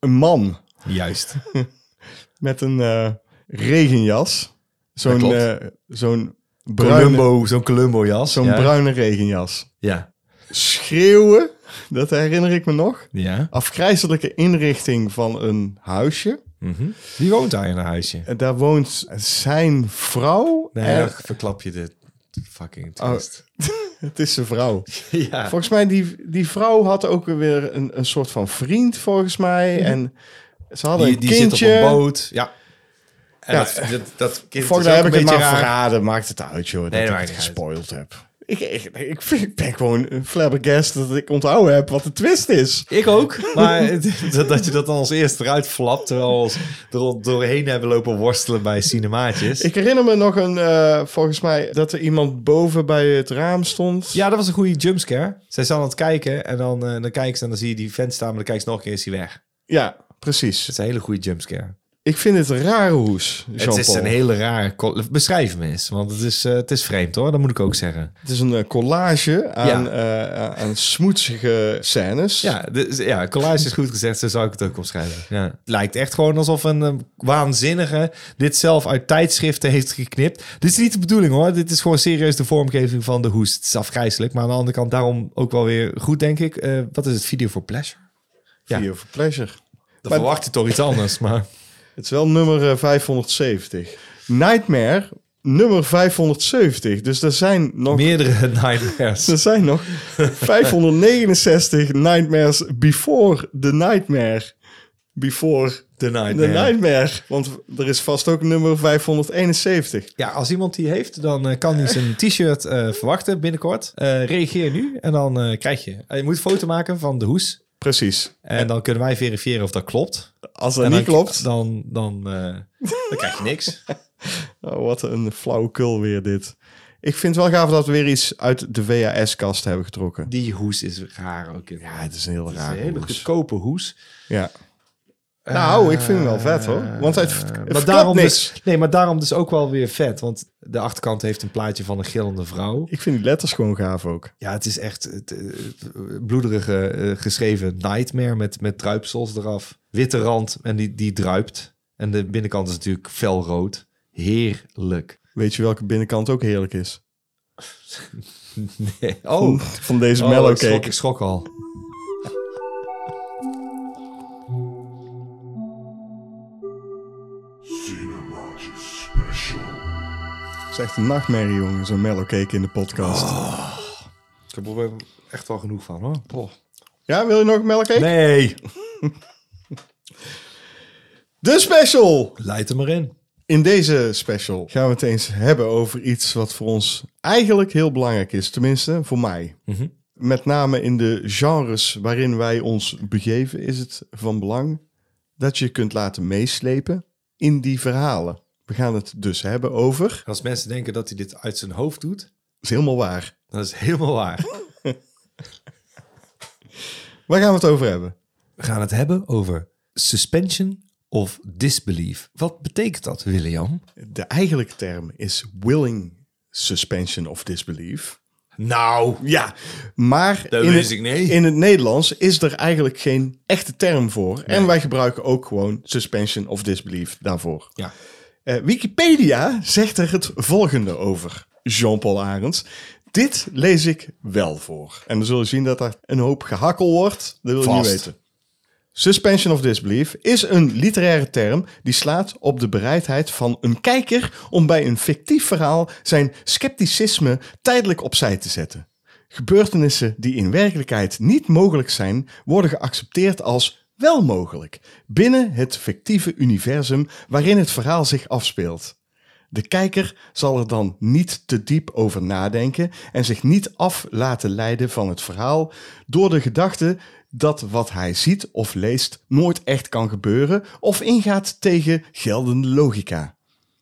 S1: een man
S2: Juist.
S1: met een eh, regenjas. Zo'n
S2: klopt.
S1: eh, zo'n bruine,
S2: Columbo, zo'n Columbo jas.
S1: zo'n
S2: ja.
S1: bruine regenjas.
S2: Ja.
S1: Schreeuwen, dat herinner ik me nog.
S2: ja.
S1: Afgrijzelijke inrichting van een huisje.
S2: Wie woont daar in een huisje?
S1: En daar woont zijn vrouw.
S2: Nee,
S1: en,
S2: dan verklap je de fucking
S1: Oh.
S2: twist. [laughs]
S1: Het is zijn vrouw.
S2: Ja.
S1: Volgens mij, die, die vrouw had ook weer een, een soort van vriend, volgens mij. En ze hadden
S2: Mhm. Die,
S1: een
S2: die
S1: kindje.
S2: zit op een boot. Ja. En
S1: Ja.
S2: Dat, dat, dat kind
S1: Fuck,
S2: is
S1: daar
S2: ook
S1: heb ik
S2: een
S1: het maar
S2: beetje raar.
S1: verraden. Maakt het uit, joh.
S2: dat
S1: dat, ik
S2: maakt
S1: het
S2: niet uit.
S1: gespoild heb. Ik, ik, ik, [laughs] vind- ik ben gewoon flabbergast dat ik onthouden heb wat de twist is.
S2: Ik ook. [laughs] Maar het- dat, dat je dat dan als eerst eruit flapt, terwijl we er al doorheen hebben lopen worstelen bij cinemaatjes.
S1: Ik herinner me nog een, eh, volgens mij, dat er iemand boven bij het raam stond.
S2: Ja, dat was een goede jumpscare. Zij staan aan het kijken en dan, eh, dan kijken ze en dan zie je die vent staan, maar dan kijkt ze nog een keer is hij weg.
S1: Ja,
S2: Dat
S1: precies.
S2: is een hele goede jumpscare.
S1: Ik vind het een rare hoes,
S2: Het is een
S1: Jean-Paul.
S2: hele rare... col- Beschrijf hem eens, want het is, eh, het is vreemd hoor, dat moet ik ook zeggen.
S1: Het is een eh, collage aan, eh, aan smoetsige scènes.
S2: Ja, dus, ja collage is goed gezegd, zo zou ik het ook omschrijven. Ja. Het lijkt echt gewoon alsof een eh, waanzinnige dit zelf uit tijdschriften heeft geknipt. Dit is niet de bedoeling hoor, dit is gewoon serieus de vormgeving van de hoest. Het is afgrijzelijk, maar aan de andere kant daarom ook wel weer goed denk ik. Eh, wat is het, video for pleasure? ja.
S1: Video for Pleasure.
S2: Dan verwacht je toch iets anders, maar... [laughs]
S1: Het is wel nummer eh, 570. Nightmare, nummer 570. Dus er zijn nog,
S2: Meerdere nightmares.
S1: er zijn nog 569 Nightmares before the Nightmare. Before
S2: The
S1: the
S2: nightmare.
S1: Nightmare. Want er is vast ook nummer 571.
S2: Ja, als iemand die heeft, dan eh, kan hij zijn t-shirt eh, verwachten binnenkort. Eh, reageer nu en dan eh, krijg je. Eh, je moet een foto maken van de hoes.
S1: Precies.
S2: En dan kunnen wij verifiëren of dat klopt.
S1: Als dat
S2: en
S1: niet
S2: dan,
S1: klopt,
S2: Dan, dan, eh, [laughs] dan krijg je niks.
S1: Oh, wat een flauwekul weer dit. Ik vind het wel gaaf dat we weer iets uit de VHS-kast hebben getrokken.
S2: Die hoes is raar ook. Ja,
S1: Ja, het is een heel raar.
S2: hele
S1: hoes.
S2: goedkope hoes.
S1: Ja. Nou, ik vind hem wel vet hoor. Want hij
S2: Eh, Maar daarom, dus, nee, maar daarom dus ook wel weer vet. Want de achterkant heeft een plaatje van een gillende vrouw.
S1: Ik vind die letters gewoon gaaf ook.
S2: Ja, het is echt het, eh, bloederige eh, geschreven nightmare met, met druipsels eraf. Witte rand en die, die druipt. En de binnenkant is natuurlijk felrood. Heerlijk. [laughs]
S1: Weet je welke binnenkant ook heerlijk is?
S2: Nee. Oh,
S1: Van deze
S2: oh,
S1: mellow
S2: ik, schrok,
S1: cake.
S2: ik schrok al.
S1: Het is echt een nachtmerrie, jongen. Zo'n mellow cake in de podcast.
S2: Ik heb er echt wel genoeg van hoor.
S1: Ja, wil je nog een mellow cake?
S2: Nee.
S1: De special!
S2: Leid hem maar in.
S1: In deze special gaan we het eens hebben over iets wat voor ons eigenlijk heel belangrijk is. Tenminste, voor mij. Met name in de genres waarin wij ons begeven is het van belang dat je je kunt laten meeslepen in die verhalen. We gaan het dus hebben over... Dat
S2: Als mensen denken dat hij dit uit zijn hoofd doet,
S1: is helemaal waar.
S2: dat is helemaal waar.
S1: Waar gaan we het over hebben?
S2: We gaan het hebben over suspension of disbelief. Wat betekent dat, William?
S1: De eigenlijke term is willing suspension of disbelief.
S2: Nou,
S1: Ja, maar
S2: Dat
S1: in,
S2: wist
S1: het,
S2: ik niet.
S1: in het Nederlands is er eigenlijk geen echte term voor. En wij gebruiken ook gewoon suspension of disbelief daarvoor.
S2: Ja.
S1: Eh, Wikipedia zegt er het volgende over Jean-Paul Arends. Dit lees ik wel voor. En dan zullen we zien dat er een hoop gehakkel wordt. Dat wil je niet
S2: Vast.
S1: weten. Suspension of disbelief is een literaire term die slaat op de bereidheid van een kijker om bij een fictief verhaal zijn scepticisme tijdelijk opzij te zetten. Gebeurtenissen die in werkelijkheid niet mogelijk zijn, worden geaccepteerd als wel mogelijk binnen het fictieve universum waarin het verhaal zich afspeelt. De kijker zal er dan niet te diep over nadenken en zich niet af laten leiden van het verhaal door de gedachte dat wat hij ziet of leest nooit echt kan gebeuren of ingaat tegen geldende logica.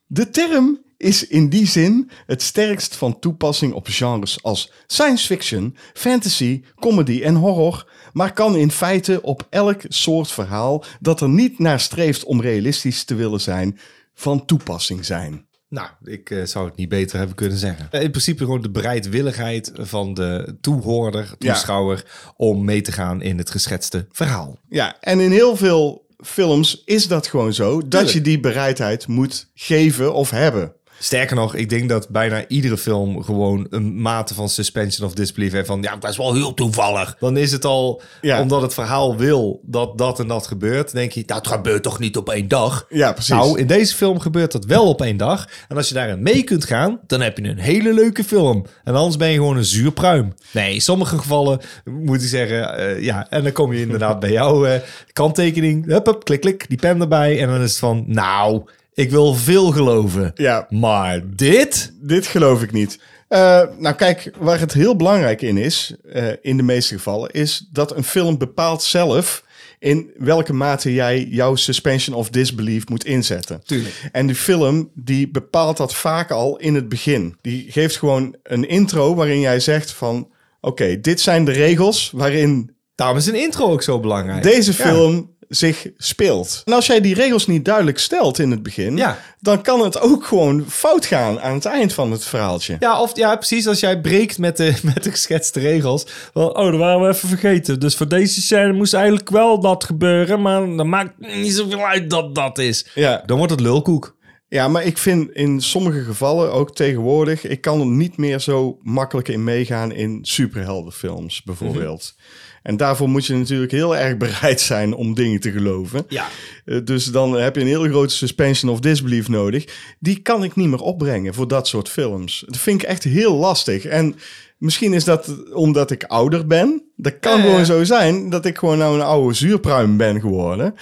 S1: De term is in die zin het sterkst van toepassing op genres als science fiction, fantasy, comedy en horror, maar kan in feite op elk soort verhaal dat er niet naar streeft om realistisch te willen zijn, van toepassing zijn.
S2: Nou, ik eh, zou het niet beter hebben kunnen zeggen. Eh, In principe gewoon de bereidwilligheid van de toehoorder, toeschouwer... om mee te gaan in het geschetste verhaal.
S1: Ja, en in heel veel films is dat gewoon zo. Dat je die bereidheid moet geven of hebben.
S2: Sterker nog, ik denk dat bijna iedere film gewoon een mate van suspension of disbelief heeft. Van ja, dat is wel heel toevallig. Dan is het al,
S1: Ja.
S2: omdat het verhaal wil dat dat en dat gebeurt, denk je, dat gebeurt toch niet op één dag?
S1: Ja, precies.
S2: Nou, in deze film gebeurt dat wel op één dag. En als je daarin mee kunt gaan, dan heb je een hele leuke film. En anders ben je gewoon een zuur pruim. Nee, in sommige gevallen moet ik zeggen, eh, ja. En dan kom je
S1: [laughs]
S2: inderdaad bij jouw eh, kanttekening. Hup, hup, klik, klik, die pen erbij. En dan is het van, nou, ik wil veel geloven.
S1: Ja.
S2: Maar dit?
S1: Dit geloof ik niet. Eh, nou kijk, waar het heel belangrijk in is, eh, in de meeste gevallen, is dat een film bepaalt zelf in welke mate jij jouw suspension of disbelief moet inzetten. Tuurlijk. En die film die bepaalt dat vaak al in het begin. Die geeft gewoon een intro waarin jij zegt van, oké, dit zijn de regels waarin
S2: Daarom is een intro ook zo belangrijk.
S1: deze
S2: Ja.
S1: film zich speelt. En als jij die regels niet duidelijk stelt in het begin,
S2: Ja.
S1: dan kan het ook gewoon fout gaan aan het eind van het verhaaltje.
S2: Ja, of, ja, precies als jij breekt met de, [laughs] met de geschetste regels.
S4: Wel, oh, dat waren we even vergeten. Dus voor deze scène moest eigenlijk wel dat gebeuren. Maar dat maakt niet zoveel uit dat dat is.
S1: Ja.
S2: Dan wordt het lulkoek.
S1: ja, maar ik vind in sommige gevallen, ook tegenwoordig, ik kan er niet meer zo makkelijk in meegaan in superheldenfilms bijvoorbeeld. En daarvoor moet je natuurlijk heel erg bereid zijn om dingen te geloven.
S2: Ja.
S1: Eh, Dus dan heb je een hele grote suspension of disbelief nodig. Die kan ik niet meer opbrengen voor dat soort films. Dat vind ik echt heel lastig. En misschien is dat omdat ik ouder ben. Dat kan gewoon zo zijn dat ik gewoon nou een oude zuurpruim ben geworden.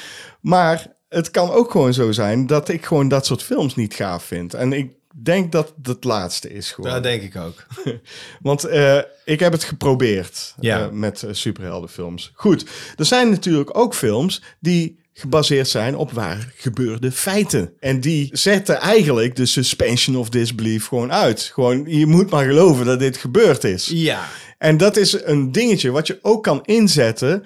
S1: Maar het kan ook gewoon zo zijn dat ik gewoon dat soort films niet gaaf vind. En ik denk dat het het laatste is gewoon.
S2: Dat denk ik ook.
S1: Want eh, ik heb het geprobeerd
S2: Ja.
S1: eh, met eh, superheldenfilms. Goed, er zijn natuurlijk ook films die gebaseerd zijn op waar gebeurde feiten. En die zetten eigenlijk de suspension of disbelief gewoon uit. Gewoon, je moet maar geloven dat dit gebeurd is.
S2: Ja.
S1: En dat is een dingetje wat je ook kan inzetten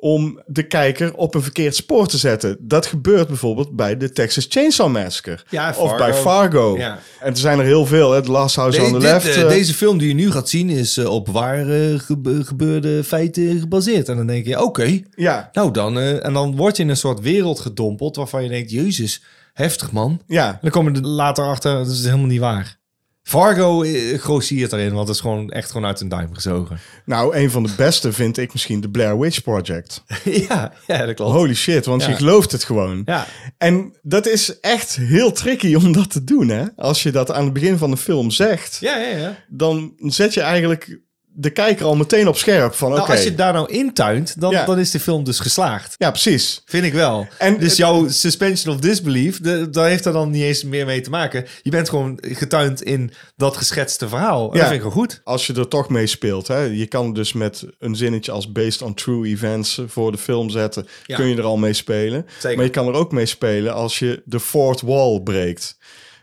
S1: om de kijker op een verkeerd spoor te zetten. Dat gebeurt bijvoorbeeld bij de Texas Chainsaw Massacre.
S2: Ja,
S1: of bij
S2: Fargo.
S1: Fargo.
S2: Ja.
S1: En er zijn er heel veel. hè. The Last House on the Left. eh,
S2: deze film die je nu gaat zien is eh, op waar eh, gebe- gebeurde feiten gebaseerd. En dan denk je, oké,
S1: Ja,
S2: nou dan. eh, en dan word je in een soort wereld gedompeld waarvan je denkt, jezus, heftig man.
S1: ja.
S2: En dan kom je er later achter, dat is helemaal niet waar. Fargo eh, grossiert erin, want het is gewoon echt gewoon uit een
S1: [laughs]
S2: duim gezogen.
S1: Nou, een van de beste vind ik misschien de Blair Witch Project.
S2: ja, ja, dat klopt.
S1: Holy shit, want
S2: Ja.
S1: je gelooft het gewoon.
S2: Ja.
S1: En dat is echt heel tricky om dat te doen, hè? Als je dat aan het begin van de film zegt,
S2: Ja, ja, ja.
S1: dan zet je eigenlijk de kijker al meteen op scherp van oké.
S2: Nou, als je daar nou intuint, dan,
S1: Ja.
S2: dan is de film dus geslaagd.
S1: Ja, precies.
S2: Vind ik wel. En
S1: En
S2: dus
S1: het-
S2: jouw suspension of disbelief, de, daar heeft er dan niet eens meer mee te maken. Je bent gewoon getuind in dat geschetste verhaal. En
S1: Ja.
S2: Dat vind ik wel goed.
S1: Als je er toch mee speelt, hè? je kan dus met een zinnetje als based on true events eh, voor de film zetten,
S2: Ja.
S1: kun je er al mee spelen.
S2: Zeker.
S1: Maar je kan er ook mee spelen als je de fourth wall breekt.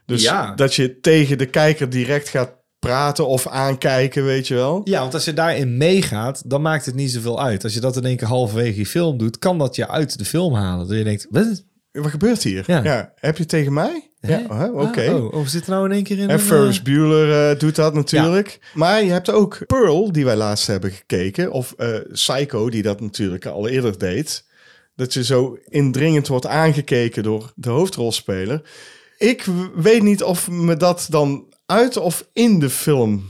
S1: Dus
S2: Ja.
S1: dat je tegen de kijker direct gaat praten of aankijken, weet je wel.
S2: Ja, want als je daarin meegaat, dan maakt het niet zoveel uit. Als je dat in één keer halverwege je film doet, kan dat je uit de film halen. Dat je denkt, wat?
S1: Wat gebeurt hier?
S2: Ja.
S1: Heb je het tegen mij? Ja, oh, hè, oké.
S2: Ah, oh, oh, we zitten nou in één keer in
S1: En
S2: een,
S1: Ferris
S2: eh,
S1: Bueller eh, doet dat natuurlijk. Mhm. Maar je hebt ook Pearl, die wij laatst hebben gekeken. Of eh, Psycho, die dat natuurlijk al eerder deed. Dat je zo indringend wordt aangekeken door de hoofdrolspeler. Ik w- weet niet of me dat dan uit of in de film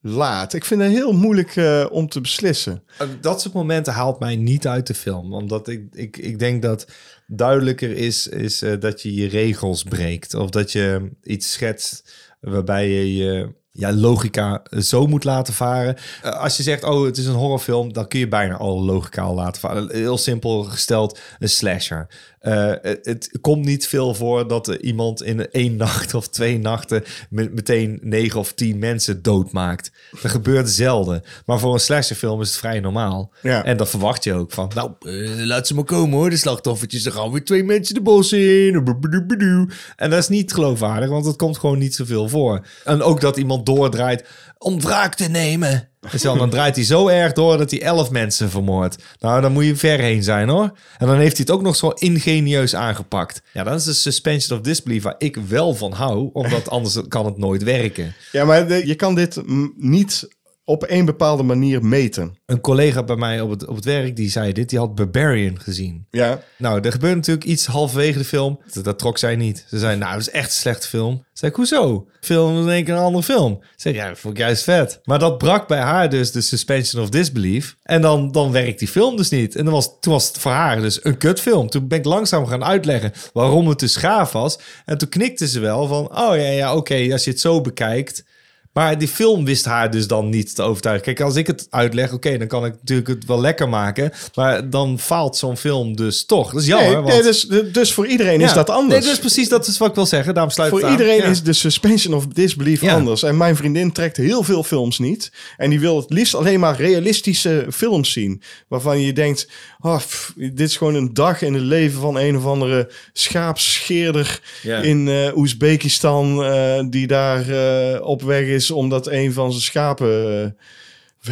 S1: laat. Ik vind het heel moeilijk eh, om te beslissen.
S2: Eh, Dat soort momenten haalt mij niet uit de film. Omdat ik, ik, ik denk dat duidelijker is, is eh, dat je je regels breekt. Of dat je iets schetst waarbij je je ja, logica eh, zo moet laten varen. Eh, als je zegt, oh, het is een horrorfilm... dan kun je bijna alle logica al laten varen. Heel simpel gesteld, een slasher. Eh, het, het komt niet veel voor dat er iemand in één nacht of twee nachten... me- meteen negen of tien mensen doodmaakt. Dat gebeurt zelden. Maar voor een slasherfilm is het vrij normaal.
S1: Ja.
S2: En dat verwacht je ook van. Nou, eh, laat ze maar komen hoor, de slachtoffertjes. Er gaan weer twee mensen de bos in. Boebedoebedoe. En dat is niet geloofwaardig, want dat komt gewoon niet zoveel voor. En ook dat iemand doordraait om wraak te nemen. Dus dan, dan draait hij zo erg door dat hij elf mensen vermoordt. Nou, dan moet je ver heen zijn hoor. En dan heeft hij het ook nog zo ingenieus aangepakt. Ja, dat is de suspension of disbelief waar ik wel van hou. Omdat anders kan het nooit werken.
S1: Ja, maar de- je kan dit mm, niet op een bepaalde manier meten.
S2: Een collega bij mij op het, op het werk die zei dit, die had Barbarian gezien.
S1: Ja.
S2: Nou, er gebeurt natuurlijk iets halverwege de film. Dat, dat trok zij niet. Ze zei, nou, dat is echt een slechte film. Zei ik, hoezo? Film is in één keer een andere film. Zei ik, ja, dat vond ik juist vet. Maar dat brak bij haar dus de suspension of disbelief. En dan, dan werkt die film dus niet. En dan was, toen was het voor haar dus een kutfilm. Toen ben ik langzaam gaan uitleggen waarom het dus gaaf was. En toen knikte ze wel van, oh ja, ja, oké, als je het zo bekijkt... Maar die film wist haar dus dan niet te overtuigen. Kijk, als ik het uitleg, oké, dan kan ik natuurlijk het wel lekker maken. Maar dan faalt zo'n film dus toch. Dat is jammer.
S1: Nee,
S2: want-
S1: nee, dus, dus voor iedereen
S2: Ja.
S1: is dat anders.
S2: Nee, dus precies dat is wat ik wil zeggen. Daarom sluit
S1: Voor
S2: het aan.
S1: iedereen
S2: Ja.
S1: is de suspension of disbelief
S2: Ja.
S1: anders. En mijn vriendin trekt heel veel films niet. En die wil het liefst alleen maar realistische films zien. Waarvan je denkt, ah, pff, dit is gewoon een dag in het leven van een of andere schaapscheerder
S2: Ja.
S1: in eh, Oezbekistan. eh, die daar eh, op weg is omdat een van zijn schapen, eh,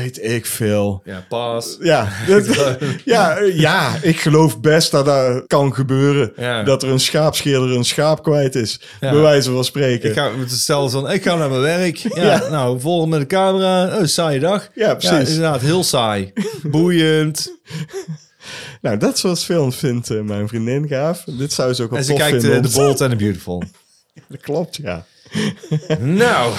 S1: weet ik veel,
S2: Ja, pas.
S1: ja,
S2: [laughs]
S1: dat- ja, eh, ja, ik geloof best dat dat kan gebeuren.
S2: Ja.
S1: Dat er een schaapscheerder een schaap kwijt is.
S2: Ja.
S1: Bij wijze van spreken.
S2: Ik ga met hetzelfde van, ik ga naar mijn werk. Ja,
S1: Ja.
S2: Nou, volgen met de camera. Oh, saaie dag.
S1: Ja, precies.
S2: inderdaad, heel saai. Boeiend.
S1: Nou, dat soort films vindt eh, mijn vriendin gaaf. Dit zou ze ook wel
S2: En ze
S1: tof
S2: kijkt
S1: vinden.
S2: eh,
S1: om
S2: The
S1: te-
S2: Bold and the Beautiful.
S1: Dat klopt, ja.
S2: nou,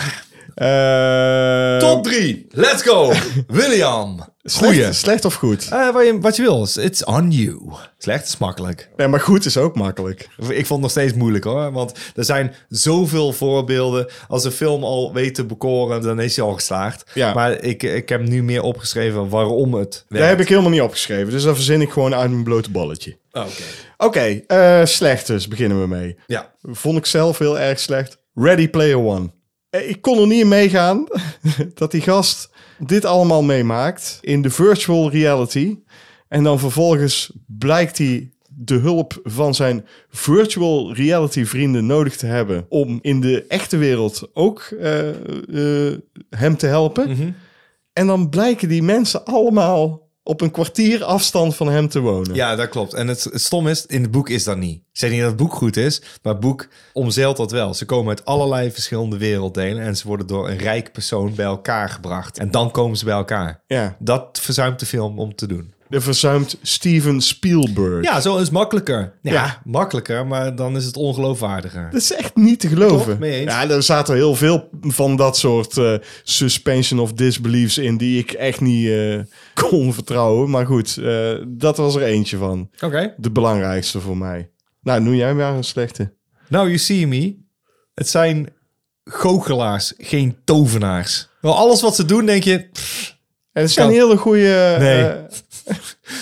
S1: Eh,
S2: top 3. Let's go. William.
S1: Slecht, slecht of goed?
S2: Eh, wat, je, wat je wil. It's on you. Slecht is makkelijk.
S1: Nee, maar goed is ook makkelijk.
S2: Ik vond het nog steeds moeilijk hoor. Want er zijn zoveel voorbeelden. Als een film al weet te bekoren, dan is hij al geslaagd.
S1: Ja.
S2: Maar ik, ik heb nu meer opgeschreven waarom het
S1: Daar
S2: werkt.
S1: heb ik helemaal niet opgeschreven. Dus dat verzin ik gewoon uit mijn blote balletje.
S2: Oh, Oké.
S1: Oké, eh, slecht dus. Beginnen we mee.
S2: Ja.
S1: Vond ik zelf heel erg slecht. Ready Player One. Eh, Ik kon er niet in meegaan [laughs] dat die gast dit allemaal meemaakt in de virtual reality. En dan vervolgens blijkt hij de hulp van zijn virtual reality vrienden nodig te hebben om in de echte wereld ook eh, eh, hem te helpen. En dan blijken die mensen allemaal op een kwartier afstand van hem te wonen.
S2: ja, dat klopt. En het, het stom is, in het boek is dat niet. Ik zeg niet dat het boek goed is, maar het boek omzeilt dat wel. Ze komen uit allerlei verschillende werelddelen en ze worden door een rijk persoon bij elkaar gebracht. En dan komen ze bij elkaar.
S1: Ja.
S2: Dat verzuimt de film om te doen.
S1: Er verzuimt Steven Spielberg.
S2: Ja, zo is makkelijker. Ja,
S1: Ja.
S2: makkelijker, maar dan is het ongeloofwaardiger.
S1: Dat is echt niet te geloven.
S2: Toch? Mee eens?
S1: Ja, er zaten heel veel van dat soort eh, suspension of disbeliefs in die ik echt niet eh, [laughs] kon vertrouwen. Maar goed, eh, dat was er eentje van.
S2: Oké.
S1: De belangrijkste voor mij. Nou, noem jij maar een slechte.
S2: Nou, you see me. Het zijn goochelaars, geen tovenaars. Wel, alles wat ze doen, denk je... [laughs] pff,
S1: En het zijn
S2: Kan-
S1: hele goede...
S2: Nee.
S1: eh,
S2: het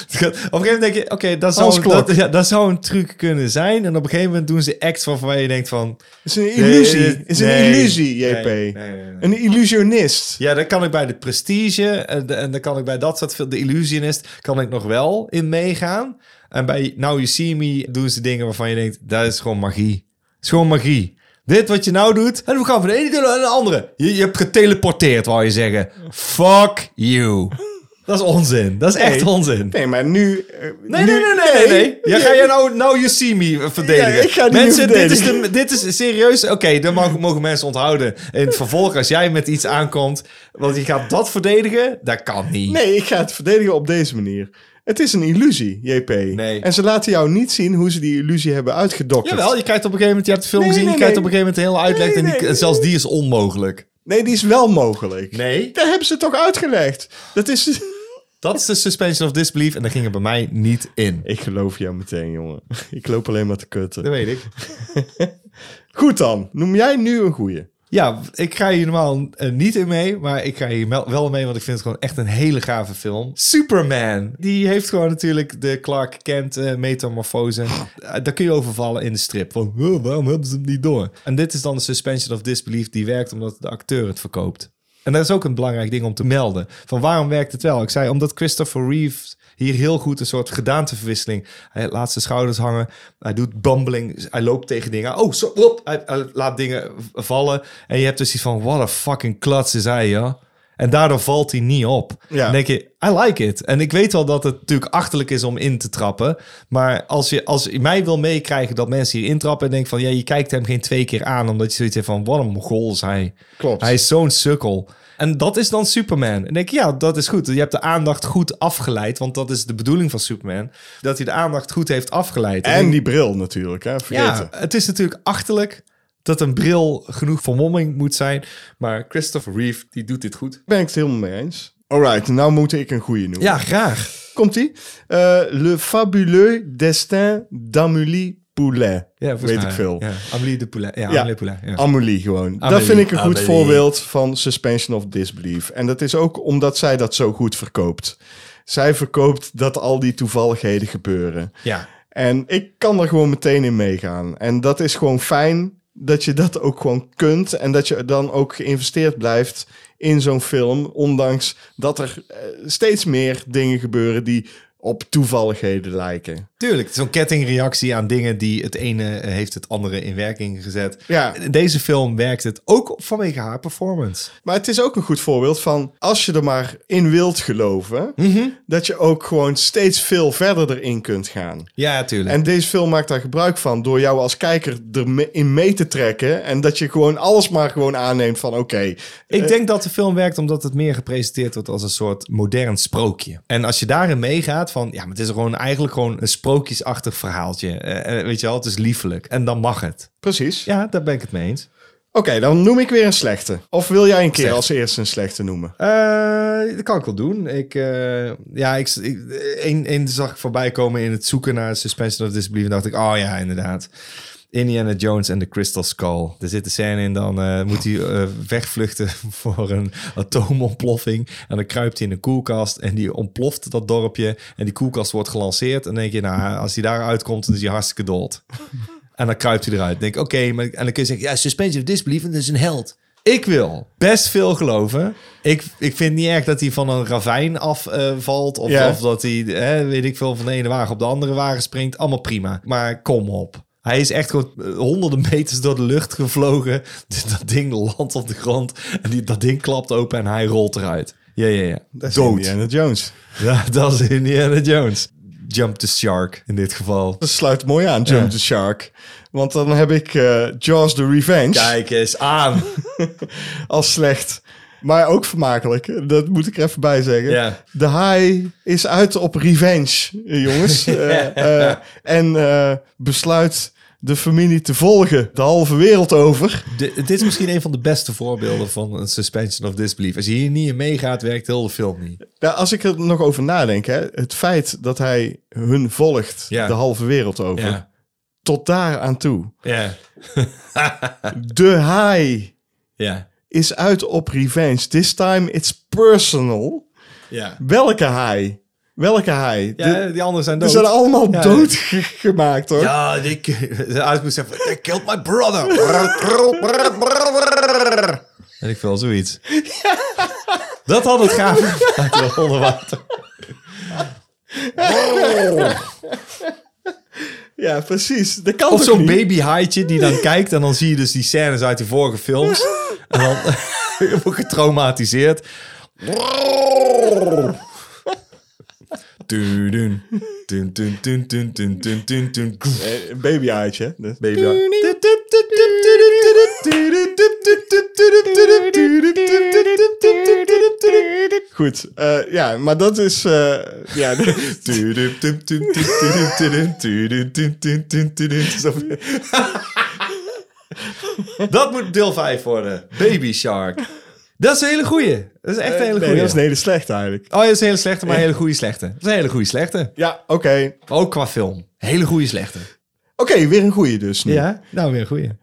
S2: gaat- op een gegeven moment denk je, oké, dat,
S1: Hans
S2: zou,
S1: Klok.
S2: dat, ja, dat zou een truc kunnen zijn. En op een gegeven moment doen ze acts waarvan je denkt van...
S1: het is een illusie.
S2: nee,
S1: Het is een
S2: nee,
S1: illusie, JP.
S2: nee, nee, nee, nee.
S1: Een illusionist.
S2: Ja, dan kan ik bij de prestige en, de- en dan kan ik bij dat soort film, de illusionist, kan ik nog wel in meegaan. En bij Now You See Me doen ze dingen waarvan je denkt, dat is gewoon magie. Dat is gewoon magie. Dit wat je nou doet, en we gaan van de ene doen naar de andere. Je, je hebt geteleporteerd, wou je zeggen. Fuck you. Dat is onzin. Dat is echt
S1: Nee.
S2: onzin.
S1: Nee, maar nu... eh,
S2: Nee,
S1: nu-
S2: nee, nee, nee, nee. nee. Ja, ga jij nou, nou You See Me verdedigen?
S1: Ja, ik ga die nu
S2: mensen, dit is, de,
S1: verdedigen.
S2: dit is serieus. Oké, dan mogen, mogen mensen onthouden. In het vervolg, als jij met iets aankomt, want je gaat dat verdedigen, dat kan niet.
S1: Nee, ik ga het verdedigen op deze manier. Het is een illusie, JP.
S2: Nee.
S1: En ze laten jou niet zien hoe ze die illusie hebben uitgedokterd.
S2: Jawel, je krijgt op een gegeven moment, je hebt de film
S1: Nee,
S2: gezien,
S1: nee,
S2: je krijgt
S1: nee.
S2: op een gegeven moment de hele uitleg
S1: Nee,
S2: en, die,
S1: nee,
S2: en zelfs die is onmogelijk.
S1: Nee, die is wel mogelijk.
S2: Nee.
S1: Daar hebben ze toch uitgelegd? Dat is...
S2: Dat is de suspension of disbelief en daar ging het bij mij niet in.
S1: [laughs] Ik geloof jou meteen, jongen. Ik loop alleen maar te
S2: Dat
S1: kutten.
S2: weet ik.
S1: Goed dan. Noem jij nu een goeie.
S2: Ja, ik ga hier normaal eh, niet in mee, maar ik ga hier mel- wel mee, want ik vind het gewoon echt een hele gave film. Superman, die heeft gewoon natuurlijk de Clark Kent eh, metamorfose. Eh, daar kun je over vallen in de strip. Van, "Huh, waarom hebben ze hem niet door? En dit is dan de suspension of disbelief die werkt omdat de acteur het verkoopt. En dat is ook een belangrijk ding om te melden. Van waarom werkt het wel? Ik zei omdat Christopher Reeve hier heel goed een soort gedaanteverwisseling. Hij laat zijn schouders hangen. Hij doet bumbling. Hij loopt tegen dingen. aan. Oh, zo, op. Hij, hij laat dingen v- vallen. En je hebt dus iets van, wat een fucking klats is hij, ja. En daardoor valt hij niet op.
S1: Ja.
S2: Dan denk je, I like it. En ik weet wel dat het natuurlijk achterlijk is om in te trappen. Maar als je, als je mij wil meekrijgen dat mensen hier intrappen... en denk van, ja, je kijkt hem geen twee keer aan... omdat je zoiets heeft van, wat een mogol is hij.
S1: Klopt.
S2: Hij is zo'n sukkel. En dat is dan Superman. En denk ik, ja, dat is goed. Je hebt de aandacht goed afgeleid. Want dat is de bedoeling van Superman. Dat hij de aandacht goed heeft afgeleid. En
S1: En die bril natuurlijk, hè? vergeten.
S2: ja, het is natuurlijk achterlijk dat een bril genoeg vermomming moet zijn. Maar Christopher Reeve, die doet dit goed.
S1: Ben ik het helemaal mee eens. Alright, nou moet ik een goede noemen.
S2: Ja, graag.
S1: Komt-ie? Eh, Le fabuleux destin d'Amélie Poulet.
S2: Ja, volgens
S1: Weet
S2: mij,
S1: ik veel.
S2: Ja. Amélie de Poulet. Ja,
S1: Ja.
S2: Amélie Poulet. Ja.
S1: Amelie gewoon. Dat
S2: Amelie.
S1: vind ik een goed
S7: Amelie.
S1: voorbeeld van suspension of disbelief. En dat is ook omdat zij dat zo goed verkoopt. Zij verkoopt dat al die toevalligheden gebeuren.
S2: ja.
S1: En ik kan er gewoon meteen in meegaan. En dat is gewoon fijn dat je dat ook gewoon kunt. En dat je dan ook geïnvesteerd blijft in zo'n film. Ondanks dat er eh, steeds meer dingen gebeuren die op toevalligheden lijken.
S2: Tuurlijk, zo'n kettingreactie aan dingen die het ene eh, heeft het andere in werking gezet.
S1: Ja.
S2: In Deze film werkt het ook vanwege haar performance.
S1: Maar het is ook een goed voorbeeld van als je er maar in wilt geloven, dat je ook gewoon steeds veel verder erin kunt gaan.
S2: Ja, tuurlijk.
S1: En deze film maakt daar gebruik van door jou als kijker erin mee te trekken. En dat je gewoon alles maar gewoon aanneemt van oké,
S2: Ik denk dat de film werkt omdat het meer gepresenteerd wordt als een soort modern sprookje. En als je daarin meegaat van, ja, maar het is gewoon eigenlijk gewoon een sprookjesachtig verhaaltje. Eh, eh, weet je wel, het is liefelijk. En dan mag het.
S1: precies.
S2: Ja, daar ben ik het mee eens.
S1: Oké, dan noem ik weer een slechte. Of wil jij een keer
S2: Slecht.
S1: als eerste een slechte noemen?
S2: Eh, dat kan ik wel doen. Ik, eh, ja, ik, ik, een, een zag ik voorbij komen in het zoeken naar Suspension of Disbelief. En dacht ik, oh ja, inderdaad. Indiana Jones en de Crystal Skull. Er zit een scène in, dan eh, moet hij eh, wegvluchten [laughs] voor een atoomontploffing. En dan kruipt hij in een koelkast en die ontploft dat dorpje. En die koelkast wordt gelanceerd. En dan denk je, nou, als hij daar uitkomt, dan is hij hartstikke dood. En dan kruipt hij eruit. Denk, ik, oké, maar en dan kun je zeggen, ja, suspension of disbelief, dat is een held. Ik wil best veel geloven. Ik, ik vind niet erg dat hij van een ravijn afvalt. valt of,
S1: Ja.
S2: of dat hij, hè, weet ik veel, van de ene wagen op de andere wagen springt. Allemaal prima. Maar kom op. Hij is echt gewoon eh, honderden meters door de lucht gevlogen. [laughs] Dus Dat ding landt op de grond. En die, dat ding klapt open en hij rolt eruit. Ja, ja, ja.
S1: Dat is
S2: Dood.
S1: Indiana Jones.
S2: Ja, [laughs] dat is Indiana Jones. Jump the shark in dit geval.
S1: Dat sluit mooi aan, Jump the Shark. Want dan heb ik eh, Jaws the Revenge
S2: Kijk eens aan.
S1: als slecht. Maar ook vermakelijk. Dat moet ik er even bij zeggen.
S2: Ja.
S1: De high is uit op revenge, eh,
S2: [laughs]
S1: jongens. Eh, eh, en eh, besluit de familie te volgen. De halve wereld over.
S2: De- dit is misschien een van de beste voorbeelden van een suspension of disbelief. Als je hier niet in meegaat, werkt heel de film niet.
S1: Nou, als ik er nog over nadenk, hè, het feit dat hij hun volgt
S2: Ja.
S1: de halve wereld over.
S2: Ja.
S1: Tot daar aan toe.
S2: Ja.
S1: De high
S2: Ja.
S1: is uit op revenge. This time it's personal.
S2: Ja.
S1: Welke high? Welke high?
S2: ja
S1: De-
S2: die anderen zijn
S1: we
S2: dood.
S1: zijn allemaal
S2: Ja.
S1: doodgemaakt hoor.
S2: Ja, ik... Hij moest zeggen, they killed my brother. en ik wil zoiets. Dat had het gaaf. gemaakt, wel onder water.
S1: Ja, precies. Dat kan
S2: Of
S1: toch
S2: zo'n
S1: niet?
S2: babyhaaitje die dan kijkt en dan zie je dus die scènes uit die vorige
S1: [laughs]
S2: films. En dan [laughs] wordt getraumatiseerd. Dun, dun, dun, dun, dun, dun, dun, dun,
S1: [laughs]
S2: dun, dun.
S1: Eh, Een babyhaartje. hè? Dat- Goed, eh, ja, maar dat is... eh, ja, [laughs]
S2: Dat moet deel 5 worden. Baby Shark. Dat is een hele goeie. Dat is echt een hele
S1: nee,
S2: goeie.
S1: dat is een hele slechte eigenlijk.
S2: Oh, dat is een hele slechte, maar een hele goede slechte. Dat is een hele goede slechte.
S1: Ja, oké.
S2: Ook qua film. Hele goede slechte.
S1: Oké, weer een goeie dus nu.
S2: Ja, nou weer een goede.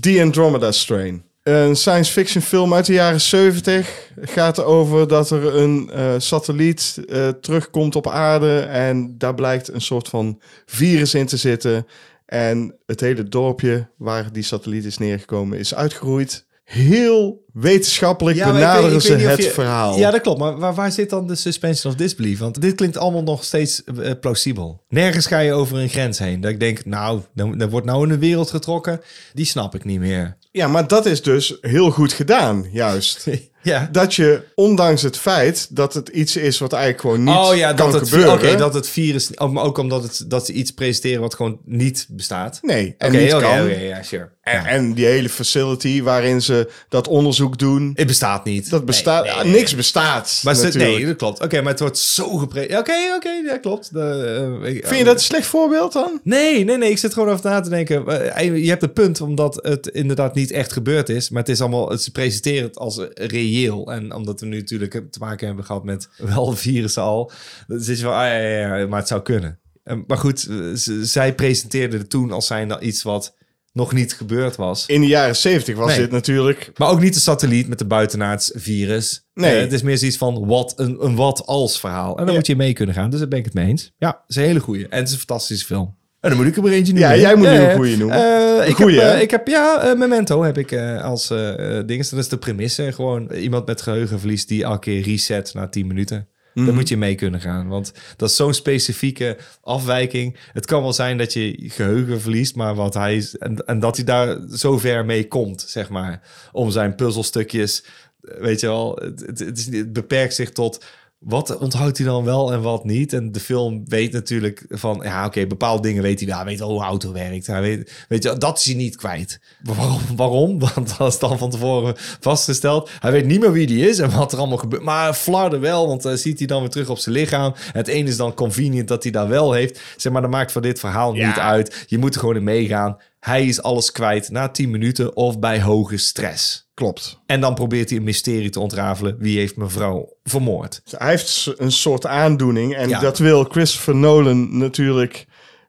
S1: The Andromeda Strain. Een science fiction film uit de jaren 70. Het gaat erover dat er een eh, satelliet eh, terugkomt op aarde. En daar blijkt een soort van virus in te zitten. En het hele dorpje waar die satelliet is neergekomen is uitgeroeid. Heel wetenschappelijk benaderen ze het verhaal.
S2: Ja, dat klopt. Maar waar, waar zit dan de suspension of disbelief? Want dit klinkt allemaal nog steeds eh, plausibel. Nergens ga je over een grens heen. Dat ik denk, nou, dan, dan wordt nou in een wereld getrokken. Die snap ik niet meer.
S1: ja, maar dat is dus heel goed gedaan, juist.
S2: [laughs] Ja.
S1: dat je, ondanks het feit dat het iets is wat eigenlijk gewoon niet
S2: oh ja,
S1: kan
S2: dat het, vi-
S1: gebeuren.
S2: oké, dat het virus... oh, Maar ook omdat het, dat ze iets presenteren wat gewoon niet bestaat.
S1: Nee, en
S2: Oké,
S1: niet
S2: oké,
S1: kan.
S2: oké, ja, sure.
S1: En, en die hele facility waarin ze dat onderzoek doen,
S2: Het bestaat niet.
S1: dat bestaat,
S2: Nee, nee,
S1: ah,
S2: nee.
S1: niks bestaat
S2: Maar ze,
S1: natuurlijk.
S2: nee, dat klopt. Oké, maar het wordt zo gepre... Oké, oké, dat klopt. De, eh, ik-
S1: Vind je dat een slecht voorbeeld dan?
S2: Nee, nee, nee. Ik zit gewoon over na te denken. Eh, Je hebt het punt omdat het inderdaad niet echt gebeurd is. Maar het is allemaal, het- ze presenteren het als reëel. En omdat we nu natuurlijk te maken hebben gehad met [laughs] wel virussen al. Dan zit je van, ah ja, ja, ja, maar het zou kunnen. Eh, Maar goed, eh, ze- zij presenteerden het toen als zijnde iets wat nog niet gebeurd was.
S1: In de jaren zeventig was
S2: Nee.
S1: dit natuurlijk
S2: Maar ook niet de satelliet met de buitenaards virus.
S1: Nee.
S2: Eh, het is meer zoiets van wat een, een wat als verhaal. En daar moet je mee kunnen gaan. Dus daar ben ik het mee eens. Ja, het is een hele goeie. En het is een fantastische film. En dan moet ik er maar eentje
S1: Ja,
S2: noemen.
S1: jij moet nu een
S2: ja.
S1: goeie noemen.
S2: Eh, ik,
S1: goeie,
S2: heb,
S1: hè?
S2: eh, ik heb, ja, eh, Memento heb ik eh, als eh eh, ding. Dat is de premisse. Gewoon iemand met geheugenverlies die elke keer reset na 10 minuten.
S1: Mhm.
S2: Daar moet je mee kunnen gaan. Want dat is zo'n specifieke afwijking. Het kan wel zijn dat je geheugen verliest, maar wat hij is. En, en dat hij daar zo ver mee komt, zeg maar. Om zijn puzzelstukjes. eh, Weet je wel, het, het, het is, niet- het beperkt zich tot. Wat onthoudt hij dan wel en wat niet? En de film weet natuurlijk van, ja oké, bepaalde dingen weet hij wel. Hij weet al hoe een auto werkt. Hij weet, weet je, dat is hij niet kwijt. Waarom? [laughs] Waarom? Want dat is dan van tevoren vastgesteld. Hij weet niet meer wie die is en wat er allemaal gebeurt. Maar hij flarden wel, want dan ziet hij dan weer terug op zijn lichaam. Het ene is dan convenient dat hij daar wel heeft. Zeg maar, dat maakt van dit verhaal niet uit. Je moet er gewoon in meegaan. Hij is alles kwijt na 10 minuten of bij hoge stress.
S1: klopt.
S2: En dan probeert hij een mysterie te ontrafelen. Wie heeft mevrouw vermoord?
S1: Hij heeft s- een soort aandoening en
S2: Ja.
S1: dat wil Christopher Nolan natuurlijk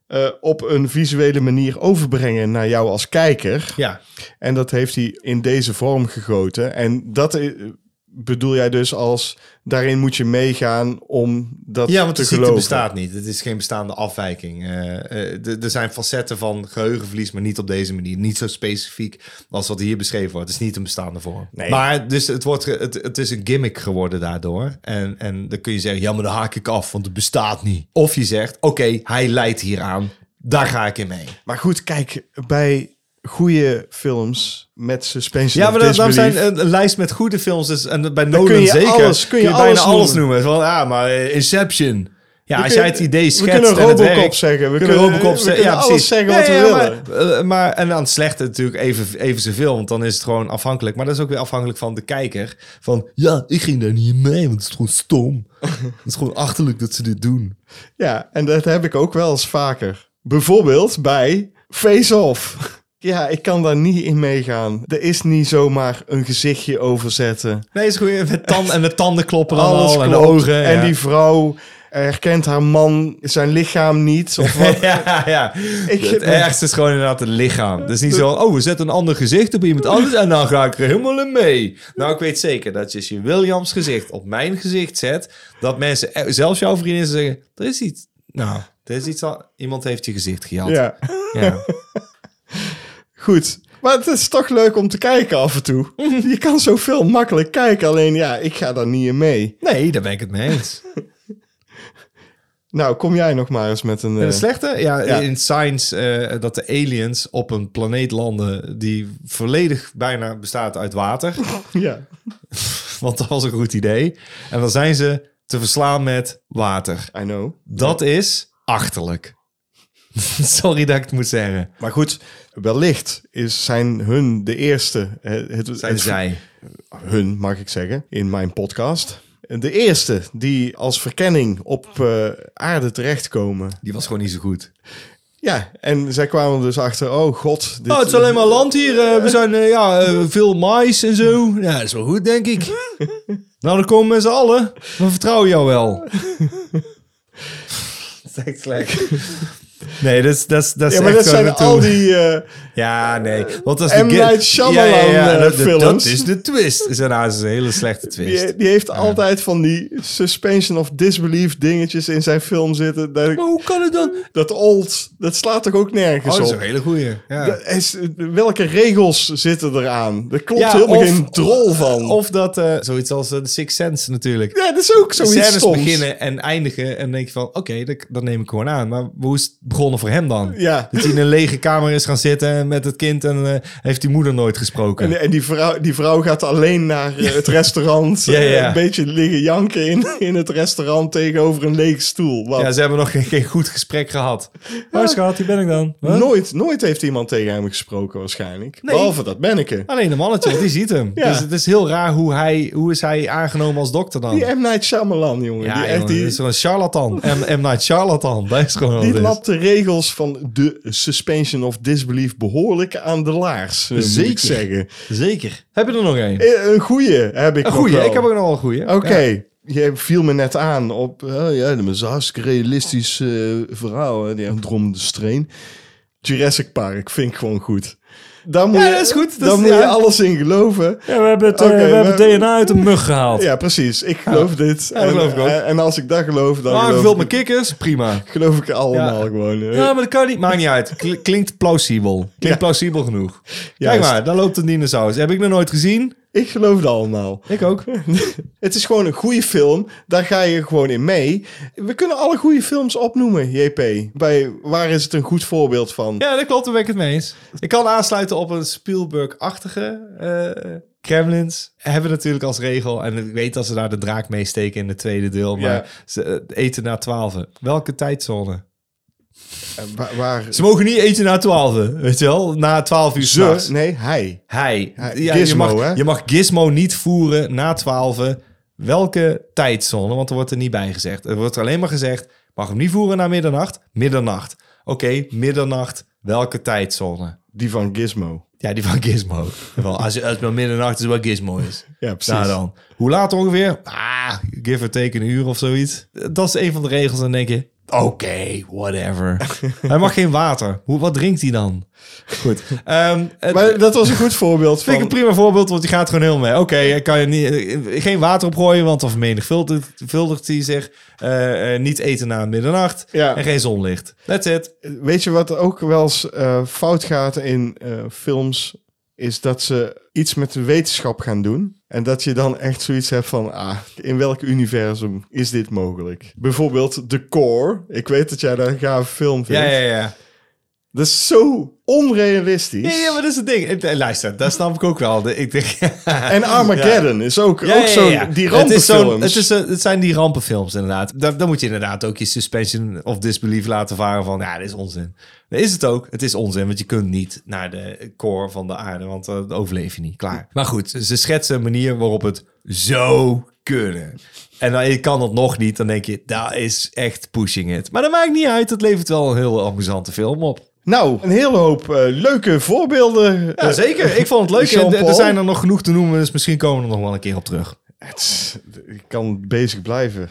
S1: eh, op een visuele manier overbrengen naar jou als kijker.
S2: Ja,
S1: En dat heeft hij in deze vorm gegoten. En dat eh, bedoel jij dus als daarin moet je meegaan om dat
S2: Ja, want
S1: te
S2: de ziekte
S1: geloven.
S2: bestaat niet. Het is geen bestaande afwijking. Eh, eh, d- er zijn facetten van geheugenverlies, maar niet op deze manier. Niet zo specifiek als wat hier beschreven wordt. Het is niet een bestaande vorm. Maar dus het, wordt, ge- het, het is een gimmick geworden daardoor. En, en dan kun je zeggen, ja, maar dan haak ik af, want het bestaat niet. Of je zegt, oké, hij leidt hier aan. Daar ga ik in mee.
S1: Maar goed, kijk, bij goede films met suspension
S2: Ja,
S1: of
S2: maar dan, dan
S1: disbelief-
S2: zijn eh, een, een lijst met goede films. Dus, en bij Nolan
S1: kun je
S2: zeker.
S1: alles- kun je
S2: bijna
S1: alles
S2: alles noemen. Van, ja, maar eh, Inception. Ja,
S1: We
S2: als jij
S1: kunnen-
S2: het idee
S1: we
S2: schetst
S1: kunnen
S2: en het
S1: Robocop
S2: werkt,
S1: zeggen, we
S2: kunnen
S1: kunnen-
S2: Robocop
S1: we
S2: zeggen.
S1: kunnen
S2: Ja,
S1: alles
S2: precies.
S1: zeggen wat
S2: Nee,
S1: we
S2: ja,
S1: willen.
S2: Maar, eh, maar, en aan het slechte natuurlijk even, even zoveel. Want dan is het gewoon afhankelijk. Maar dat is ook weer afhankelijk van de kijker. Van, ja, ik ging daar niet in mee, want het is gewoon stom. het is gewoon achterlijk dat ze dit doen.
S1: Ja, en dat heb ik ook wel eens vaker. Bijvoorbeeld bij Face Off. [laughs] Ja, ik kan daar niet in meegaan. Er is niet zomaar een gezichtje overzetten.
S2: Nee, is gewoon met tanden en de tanden kloppen dan
S1: Alles
S2: al, en
S1: klopt.
S2: de ogen.
S1: En
S2: ja.
S1: die vrouw herkent haar man, zijn lichaam niet.
S2: [laughs]
S1: Of wat.
S2: ja, ja.
S1: Ik-
S2: het ergste is gewoon inderdaad het lichaam. Het is niet zo, oh, we zetten een ander gezicht op iemand anders en dan ga ik er helemaal in mee. Nou, ik weet zeker dat als je Williams gezicht op mijn gezicht zet, dat mensen, eh, zelfs jouw vrienden zeggen, er is iets, nou, er is iets, al, iemand heeft je gezicht gejat.
S1: ja,
S2: Ja.
S1: goed. Maar het is toch leuk om te kijken af en
S2: [laughs]
S1: toe. Je kan zoveel makkelijk kijken, alleen ja, ik ga daar niet in mee.
S2: Nee, daar ben ik het mee eens.
S1: Nou, kom jij nog maar eens met een...
S2: En
S1: eh,
S2: de slechte? Ja,
S1: Ja.
S2: in Science eh, dat de aliens op een planeet landen die volledig bijna bestaat uit water.
S1: [laughs] ja.
S2: Want dat was een goed idee. En dan zijn ze te verslaan met water.
S1: I know.
S2: Dat is achterlijk. [laughs] Sorry dat ik het moet zeggen.
S1: Maar goed, wellicht is, zijn hun de eerste. eh, Het, het,
S2: Zijn zij.
S1: hun, mag ik zeggen, in mijn podcast. De eerste die als verkenning op eh, aarde terechtkomen.
S2: Die was gewoon niet zo goed.
S1: Ja, en zij kwamen dus achter, oh god. Dit,
S2: Oh, het is alleen maar land hier. eh, we zijn eh, ja, eh, veel mais en zo. Ja, dat is wel goed, denk [laughs] ik. nou, dan komen we met z'n allen. We vertrouwen jou wel. [laughs] dat is echt slecht. Nee, dat is, dat is, dat is
S1: ja, maar
S2: echt
S1: dat zijn
S2: gewoon naartoe.
S1: al die... eh,
S2: Ja, nee. Want dat is
S1: M.
S2: de
S1: Night Shyamalan, eh,
S2: dat, dat-
S1: films.
S2: dat is de twist. Is nou, dat is een hele slechte twist.
S1: die, die heeft altijd van die suspension of disbelief dingetjes in zijn film zitten. Dat,
S2: Maar hoe kan het dan?
S1: dat old, dat slaat toch ook nergens
S2: Oh, dat is een
S1: op?
S2: hele goeie. Ja.
S1: Dat is- welke regels zitten eraan? Er klopt
S2: Ja,
S1: helemaal
S2: of-
S1: geen drol van.
S2: Of dat, eh, zoiets als eh, The Sixth Sense natuurlijk.
S1: ja, dat is ook zoiets
S2: Scènes
S1: stoms.
S2: beginnen en eindigen en dan denk je van, oké, dat, dat neem ik gewoon aan. Maar hoe, is- begonnen voor hem dan.
S1: Ja.
S2: Dat hij in een lege kamer is gaan zitten met het kind en eh, heeft die moeder nooit gesproken.
S1: En, en die, vrouw, die vrouw gaat alleen naar eh, het restaurant.
S2: Ja, ja, ja.
S1: eh, Een beetje liggen janken in, in het restaurant tegenover een leeg stoel. Want
S2: Ja, ze hebben nog geen, geen goed gesprek gehad.
S8: Waar schat, hier ben ik dan. Huh?
S1: nooit, nooit heeft iemand tegen hem gesproken waarschijnlijk.
S2: Nee.
S1: Behalve dat Benneke.
S2: Alleen de mannetje, want die ziet hem.
S1: [laughs] Ja.
S2: Dus het is heel raar hoe, hij, hoe is hij aangenomen als dokter dan.
S1: Die M. Night Shyamalan, jongen.
S2: ja,
S1: die,
S2: jongen,
S1: echt, die,
S2: dat is gewoon een charlatan. [laughs] M, M. Night Charlatan. Dat is gewoon wat
S1: die
S2: het is.
S1: lapt de regels van de suspension of disbelief behoorlijk aan de laars, eh, moet ik
S2: Zeker.
S1: zeggen.
S2: Zeker. Heb je er nog één?
S1: Eh, Een goeie heb ik
S2: Een
S1: nog
S2: goeie.
S1: wel.
S2: Ik heb ook nog wel een goeie.
S1: Oké, je viel me net aan op... eh, ja, dat is een hartstikke realistisch eh, verhaal, hè, die Andromeda Strain. Jurassic Park vind ik gewoon goed. Daar moet,
S2: Ja,
S1: je-
S2: dat is goed. Dat
S1: daar
S2: is-
S1: moet je
S2: ja.
S1: alles in geloven.
S8: Ja, we hebben, het, eh,
S1: Oké,
S8: we hebben
S1: we-
S8: het DNA uit een mug gehaald.
S1: Ja, precies. Ik geloof dit.
S2: dat
S1: en, eh,
S2: geloof ik ook.
S1: en- en als ik dat geloof, dan
S2: Ah,
S1: geloof,
S2: gevuld
S1: ik,
S2: met kikkers. Prima.
S1: geloof ik allemaal
S2: Ja.
S1: gewoon. eh.
S2: Ja, maar dat kan niet. Maakt niet uit. Kl- Klinkt plausibel. Klinkt plausibel genoeg. Kijk
S1: Juist.
S2: maar, daar loopt een dinosaurus. Heb ik nog nooit gezien.
S1: Ik geloof het allemaal.
S2: Ik ook.
S1: Het is gewoon een goede film. Daar ga je gewoon in mee. We kunnen alle goede films opnoemen, JP. Bij waar is het een goed voorbeeld van?
S2: Ja, dat klopt. Daar ben ik het mee eens. Ik kan aansluiten op een Spielberg-achtige eh, Kremlins. Hebben natuurlijk als regel. En ik weet dat ze daar de draak mee steken in het tweede deel. Maar
S1: Ja.
S2: ze eh, eten na twaalfen. Welke tijdzone?
S1: Eh, Waar, waar-
S2: Ze mogen niet eten na twaalfen. Weet je wel? Na twaalf uur
S1: ze?
S2: s'nachts.
S1: Nee, hij.
S2: Hij.
S1: Hij-
S2: Ja, je,
S1: Gizmo, hè?
S2: mag, je mag Gizmo niet voeren na 12. Welke tijdzone? Want er wordt er niet bij gezegd. Er wordt alleen maar gezegd: mag hem niet voeren na middernacht? Middernacht. Oké, middernacht. Welke tijdzone?
S1: Die van Gizmo.
S2: Ja, die van Gizmo. Wel, als, als het maar middernacht is, wat Gizmo is.
S1: Ja, precies.
S2: Nou dan. Hoe laat ongeveer? Ah, give or take een uur of zoiets. Dat is een van de regels. Dan denk je, oké,
S1: [laughs]
S2: whatever. hij mag geen water. Hoe, wat drinkt hij dan? Goed. Ehm, het-
S1: Maar dat was een goed voorbeeld
S2: Vind ik een
S1: van...
S2: prima voorbeeld, want die gaat gewoon heel mee. Oké, hij kan je niet, eh, geen water opgooien, want dan vermenigvuldigt vuldigt hij zich. Eh, eh, niet eten na middernacht
S1: Ja.
S2: en geen zonlicht. That's it.
S1: Weet je wat ook wel eens eh, fout gaat in eh, films? Is dat ze iets met de wetenschap gaan doen. En dat je dan echt zoiets hebt van... Ah, in welk universum is dit mogelijk? Bijvoorbeeld The Core. Ik weet dat jij daar een gave film vindt.
S2: Ja, ja, ja.
S1: Dat is zo onrealistisch.
S2: Ja, ja, maar dat is het ding. Eh, eh, Luister, dat snap ik ook wel. De- Ik denk,
S1: En Armageddon is ook,
S2: Ja,
S1: ook
S2: ja,
S1: zo'n...
S2: ja, ja.
S1: Die
S2: Het, is zo'n-
S1: rampenfilms.
S2: het, is, eh, het zijn die rampenfilms inderdaad. Daar, daar moet je inderdaad ook je suspension of disbelief laten varen van... ja, dit is onzin. Dat is het ook. Het is onzin, want je kunt niet naar de core van de aarde... want eh, dan overleef je niet. Klaar. Maar goed, ze schetsen een manier waarop het zo kunnen. En dan, je kan dat nog niet, dan denk je... dat is echt pushing it. Maar dat maakt niet uit, het levert wel een heel amusante film op.
S1: Nou, een hele hoop eh, leuke voorbeelden.
S2: Ja,
S1: Eh,
S2: zeker. Ik vond het leuk.
S1: Jean-Paul.
S2: En er- er zijn er nog genoeg te noemen, dus misschien komen we er nog wel een keer op terug.
S1: het is- ik kan bezig blijven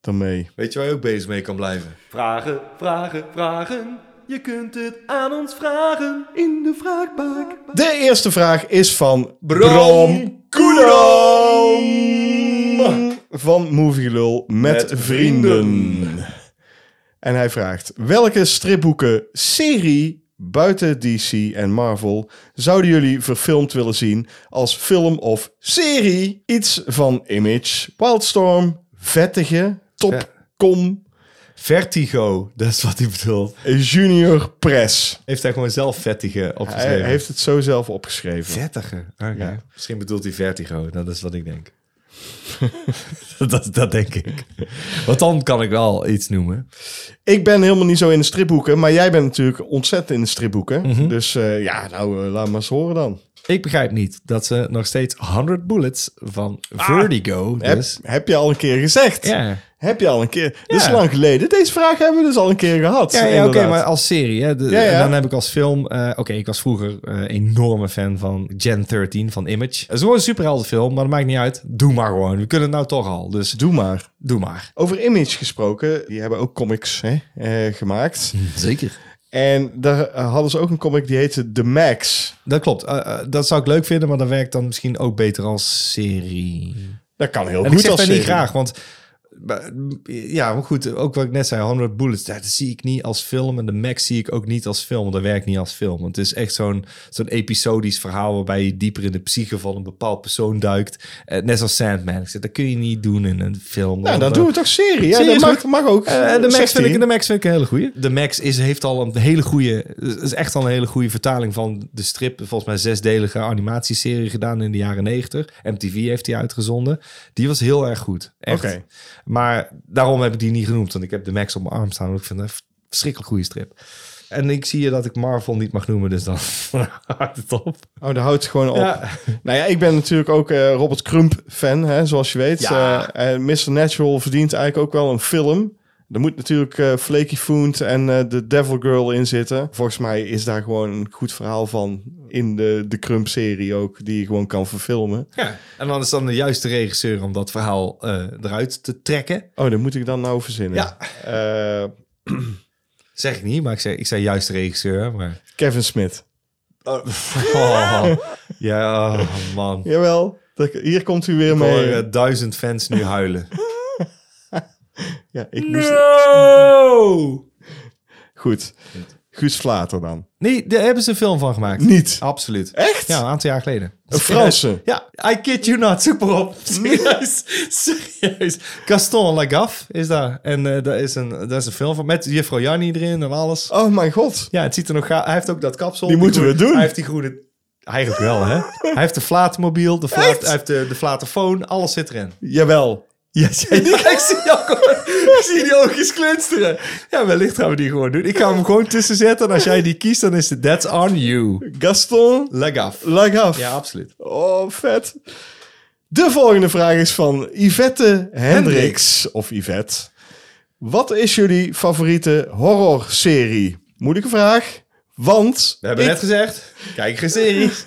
S1: daarmee.
S2: Weet je waar je ook bezig mee kan blijven?
S9: Vragen, vragen, vragen. Je kunt het aan ons vragen in de vraagbaak.
S1: De eerste vraag is van Brom
S2: Bram
S1: Koedam van Movie Lul met,
S2: Met
S1: vrienden.
S2: vrienden.
S1: En hij vraagt: welke stripboeken, serie buiten DC en Marvel zouden jullie verfilmd willen zien als film of serie? Iets van Image, Wildstorm, Vettige, Topcom,
S2: Vertigo, dat is wat hij bedoelt.
S1: Junior Press.
S2: Heeft hij gewoon zelf vettige opgeschreven?
S1: Hij heeft het zo zelf opgeschreven.
S2: vettige. Misschien bedoelt hij vertigo, dat is wat ik denk. [laughs] dat, dat denk ik. Want dan kan ik wel iets noemen.
S1: Ik ben helemaal niet zo in de stripboeken, maar jij bent natuurlijk ontzettend in de stripboeken.
S2: Mhm.
S1: Dus eh, ja, nou, eh, laat maar eens horen dan.
S2: Ik begrijp niet dat ze nog steeds 100 Bullets van Vertigo.
S1: Heb,
S2: Dus,
S1: heb je al een keer gezegd?
S2: ja,
S1: Heb je al een keer? Dit is
S2: Ja.
S1: lang geleden. Deze vraag hebben we dus al een keer gehad.
S2: ja, ja, oké,
S1: inderdaad.
S2: maar als serie. Hè, de-
S1: Ja, ja.
S2: En dan heb ik als film. eh, oké, ik was vroeger eh enorme fan van Gen 13 van Image. Het is gewoon een superheldenfilm, maar dat maakt niet uit. Doe maar gewoon. We kunnen het nou toch al. Dus
S1: Doe maar.
S2: doe maar.
S1: Over Image gesproken, die hebben ook comics hè, eh, gemaakt.
S2: Mhm. Zeker.
S1: En daar eh, hadden ze ook een comic die heette The Max.
S2: Dat klopt. Eh, eh, dat zou ik leuk vinden, maar dat werkt dan misschien ook beter als serie.
S1: Dat kan heel
S2: En ik
S1: goed
S2: zeg
S1: als
S2: dat niet
S1: serie.
S2: graag, want maar, mm, ja, maar goed, ook wat ik net zei, 100 Bullets, dat zie ik niet als film. En de Max zie ik ook niet als film, want dat werkt niet als film. Want het is echt zo'n zo'n episodisch verhaal waarbij je dieper in de psyche van een bepaald persoon duikt. Eh, net als Sandman. Ik zeg, dat kun je niet doen in een film.
S1: Ja,
S2: Want,
S1: dan
S2: eh,
S1: doen we toch serie. Ja,
S2: serie
S1: dat
S2: is
S1: mag, mag ook.
S2: eh, de, Max vind
S1: 16.
S2: ik, de Max vind ik een hele goeie. De Max is, heeft al een hele goede, is echt al een hele goede vertaling van de strip. Volgens mij zesdelige animatieserie gedaan in de jaren negentig. MTV heeft die uitgezonden. Die was heel erg goed. Echt.
S1: Oké.
S2: Maar daarom heb ik die niet genoemd. Want ik heb de Max op mijn arm staan. Want ik vind het een verschrikkelijk goede strip. En ik zie je dat ik Marvel niet mag noemen. Dus dan [laughs] houdt het op.
S1: Oh, daar houdt het gewoon op.
S2: Ja.
S1: [laughs] Nou ja, ik ben natuurlijk ook eh, Robert Crump-fan, hè, zoals je weet.
S2: Ja.
S1: Eh, en Mr. Natural verdient eigenlijk ook wel een film. Er moet natuurlijk eh Flaky Foont en eh The Devil Girl in zitten. Volgens mij is daar gewoon een goed verhaal van in de, de Crump-serie ook, die je gewoon kan verfilmen.
S2: Ja. En dan is dan de juiste regisseur om dat verhaal eh, eruit te trekken.
S1: Oh, dat moet ik dan nou verzinnen.
S2: Ja.
S1: Eh,
S2: Zeg ik niet, maar ik zei, ik zei juiste regisseur. Maar...
S1: Kevin Smith.
S2: Oh, ja, oh, man.
S1: Jawel, dat- hier komt u weer
S2: Ik hoor
S1: mee.
S2: eh, duizend fans nu huilen.
S1: Ja, ik moest...
S2: [laughs]
S1: Goed. Guus Vlater dan.
S2: Nee, daar hebben ze een film van gemaakt.
S1: Niet.
S2: Absoluut.
S1: Echt?
S2: Ja, een aantal jaar geleden.
S1: Een Franse.
S2: [laughs] Ja, I kid you not. Zoek maar
S1: [laughs]
S2: op. Serieus. Serieus. Gaston Lagaffe is daar. En eh daar, is een, daar is een film van. Met juffrouw Janni erin en alles.
S1: Oh mijn god.
S2: Ja, het ziet er nog... ga- Hij heeft ook dat kapsel.
S1: Die moeten we
S2: groene-
S1: doen.
S2: Hij heeft die groene... Eigenlijk wel,
S1: [laughs]
S2: hè? Hij heeft de flatenmobiel, de flat, hij heeft de, de flatenfoon, alles zit erin.
S1: Jawel.
S2: Yes, ja, ja. ik, zie jou gewoon, ik zie die oogjes glinsteren. Ja, wellicht gaan we die gewoon doen. Ik ga hem gewoon tussen zetten. En als jij die kiest, dan is het that's on you.
S1: Gaston
S2: Leg af.
S1: Lagaf.
S2: Ja, absoluut.
S1: Oh, vet. De volgende vraag is van Yvette Hendricks. Of Yvette. Wat is jullie favoriete horrorserie? Moeilijke vraag. Want...
S2: We hebben
S1: ik-
S2: net gezegd, kijk geen series.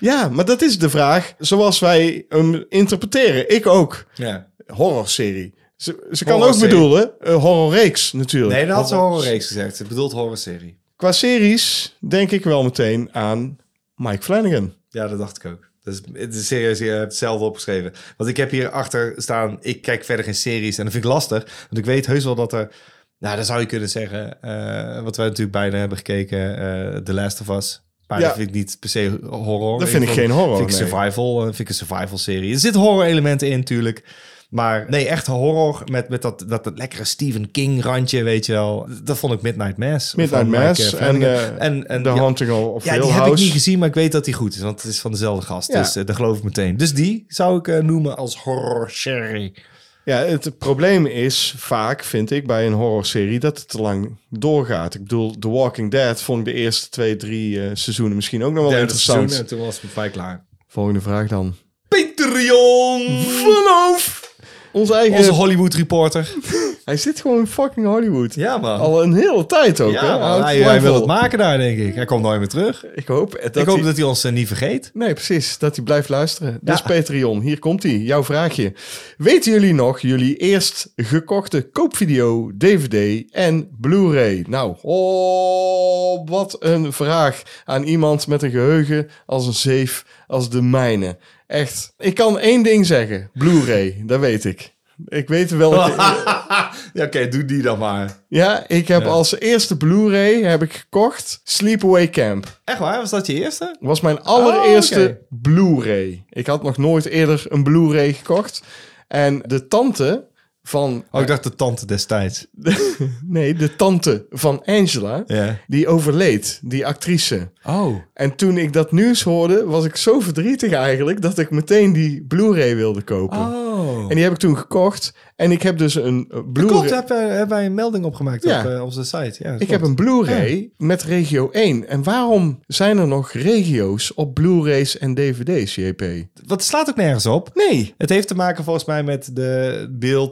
S1: Ja, maar dat is de vraag zoals wij hem interpreteren. Ik ook.
S2: Ja.
S1: Horrorserie. Ze, ze kan ook
S2: Horrorserie.
S1: bedoelen eh, horrorreeks natuurlijk.
S2: Nee, dat had ze
S1: Horror-
S2: horrorreeks gezegd. Het bedoelt horrorserie.
S1: Qua series denk ik wel meteen aan Mike Flanagan.
S2: Ja, dat dacht ik ook. Dat is, het is serieus, je hebt het zelf opgeschreven. Want ik heb hier achter staan, ik kijk verder geen series. En dat vind ik lastig, want ik weet heus wel dat er... Nou, dan zou je kunnen zeggen, eh, wat wij natuurlijk bijna hebben gekeken, eh, The Last of Us. Maar
S1: Ja.
S2: dat vind ik niet per se horror.
S1: Dat vind ik geen horror,
S2: Vind ik
S1: nee.
S2: survival, eh, vind ik een survival serie. Er zitten horror elementen in natuurlijk. Maar nee, echt horror met, met dat, dat, dat lekkere Stephen King randje, weet je wel. Dat vond ik Midnight Mass.
S1: Midnight
S2: van Mike,
S1: Mass
S2: eh,
S1: en,
S2: Flanagan.
S1: eh, The
S2: ja,
S1: Haunting of
S2: ja,
S1: Hill
S2: die
S1: House.
S2: heb ik niet gezien, maar ik weet dat die goed is. Want het is van dezelfde gast.
S1: Ja.
S2: Dus eh, dat geloof ik meteen. Dus die zou ik eh, noemen als horror serie.
S1: Ja, het probleem is vaak, vind ik, bij een horrorserie dat het te lang doorgaat. Ik bedoel, The Walking Dead vond ik de eerste twee, drie eh, seizoenen misschien ook nog wel interessant.
S2: En toen was het mij klaar.
S1: Volgende vraag dan.
S2: Patreon!
S1: Vanaf! Onze eigen...
S2: Onze Hollywood reporter.
S1: Hij zit gewoon in fucking Hollywood.
S2: Ja, man.
S1: Al een hele tijd ook,
S2: ja,
S1: hè?
S2: man.
S1: Hij houdt
S2: Oh, Hij, eh,
S1: het
S2: hij
S1: lang
S2: wil het
S1: vol.
S2: maken daar, denk ik. Hij komt nooit meer terug.
S1: Ik hoop dat
S2: ik hoop
S1: hij-
S2: dat hij ons eh, niet vergeet.
S1: Nee, precies. Dat hij blijft luisteren. Dus
S2: Ja.
S1: Patreon, hier komt hij. Jouw vraagje. Weten jullie nog jullie eerst gekochte koopvideo, DVD en Blu-ray? Nou, oh, wat een vraag aan iemand met een geheugen als een zeef als de mijne. Echt. Ik kan één ding zeggen. Blu-ray, dat weet ik. Ik weet
S2: [laughs]
S1: welke...
S2: [laughs] Ja, oké, doe die dan maar.
S1: ja, ik heb als eerste Blu-ray heb ik gekocht Sleepaway Camp.
S2: Echt waar? Was dat je eerste?
S1: was mijn allereerste
S2: Oh, oké.
S1: Blu-ray. Ik had nog nooit eerder een Blu-ray gekocht. En de tante van...
S2: Oh, ik dacht de tante destijds.
S1: Nee, de tante van Angela,
S2: Ja.
S1: die overleed, die actrice.
S2: Oh.
S1: En toen ik dat nieuws hoorde, was ik zo verdrietig eigenlijk... dat ik meteen die Blu-ray wilde kopen.
S2: Oh.
S1: En die heb ik toen gekocht. En ik heb dus een eh,
S2: Klopt,
S1: Blu-ray...
S2: hebben hebben wij een melding opgemaakt
S1: Ja.
S2: op eh, onze site. Ja,
S1: Ik
S2: klopt.
S1: heb een Blu-ray met regio 1. En waarom zijn er nog regio's op Blu-rays en DVD's, JP?
S2: Wat slaat ook nergens op.
S1: Nee,
S2: Het heeft te maken volgens mij met de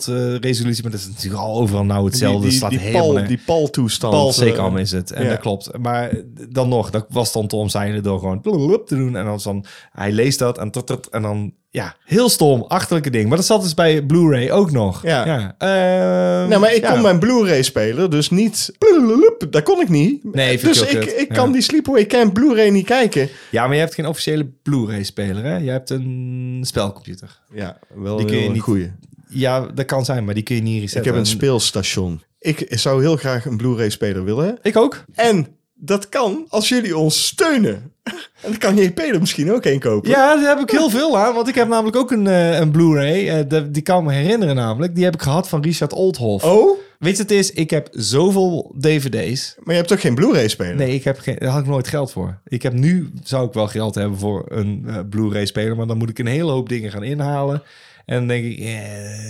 S2: beeldresolutie, maar dat is natuurlijk al overal nou hetzelfde.
S1: Die, die,
S2: slaat
S1: die
S2: helemaal
S1: pal,
S2: nergens-
S1: die paltoestand.
S2: pal
S1: eh,
S2: zeker is het. En
S1: ja.
S2: dat klopt. Maar dan nog, dat was dan te omzeilen door gewoon blub te doen. En dan, is dan hij leest dat en, tot, tot, en dan, ja, heel stom, achterlijke ding. Maar dat zat dus bij Blu-ray ook nog.
S1: Ja.
S2: Ehm,
S1: Nou, maar ik
S2: ja.
S1: kon mijn Blu-ray spelen, dus niet... plululup, Dat kon ik niet.
S2: Nee, vind
S1: dus
S2: ik heel
S1: ik,
S2: kut.
S1: ik
S2: Ja.
S1: kan die Sleepaway Camp Blu-ray niet kijken.
S2: Ja, maar je hebt geen officiële Blu-ray-speler, hè? Je hebt een spelcomputer.
S1: Ja, wel
S2: Die kun je
S1: heel een
S2: niet-
S1: goeie.
S2: Ja, dat kan zijn, maar die kun je niet resetten.
S1: Ik heb een
S2: En-
S1: speelstation. Ik zou heel graag een Blu-ray-speler willen.
S2: Ik ook.
S1: En dat kan als jullie ons steunen. [laughs] En dan kan JP er misschien ook een kopen.
S2: Ja, daar heb ik heel veel aan, want ik heb namelijk ook een, eh, een Blu-ray. eh, de- die kan ik me herinneren namelijk. Die heb ik gehad van Richard Oldhoff.
S1: Oh,
S2: Weet je wat het is? Ik heb zoveel dvd's.
S1: maar je hebt ook geen Blu-ray-speler?
S2: Nee, ik heb geen, daar had ik nooit geld voor. Ik heb nu, zou ik wel geld hebben voor een eh, Blu-ray speler, maar dan moet ik een hele hoop dingen gaan inhalen. En dan denk ik, eh,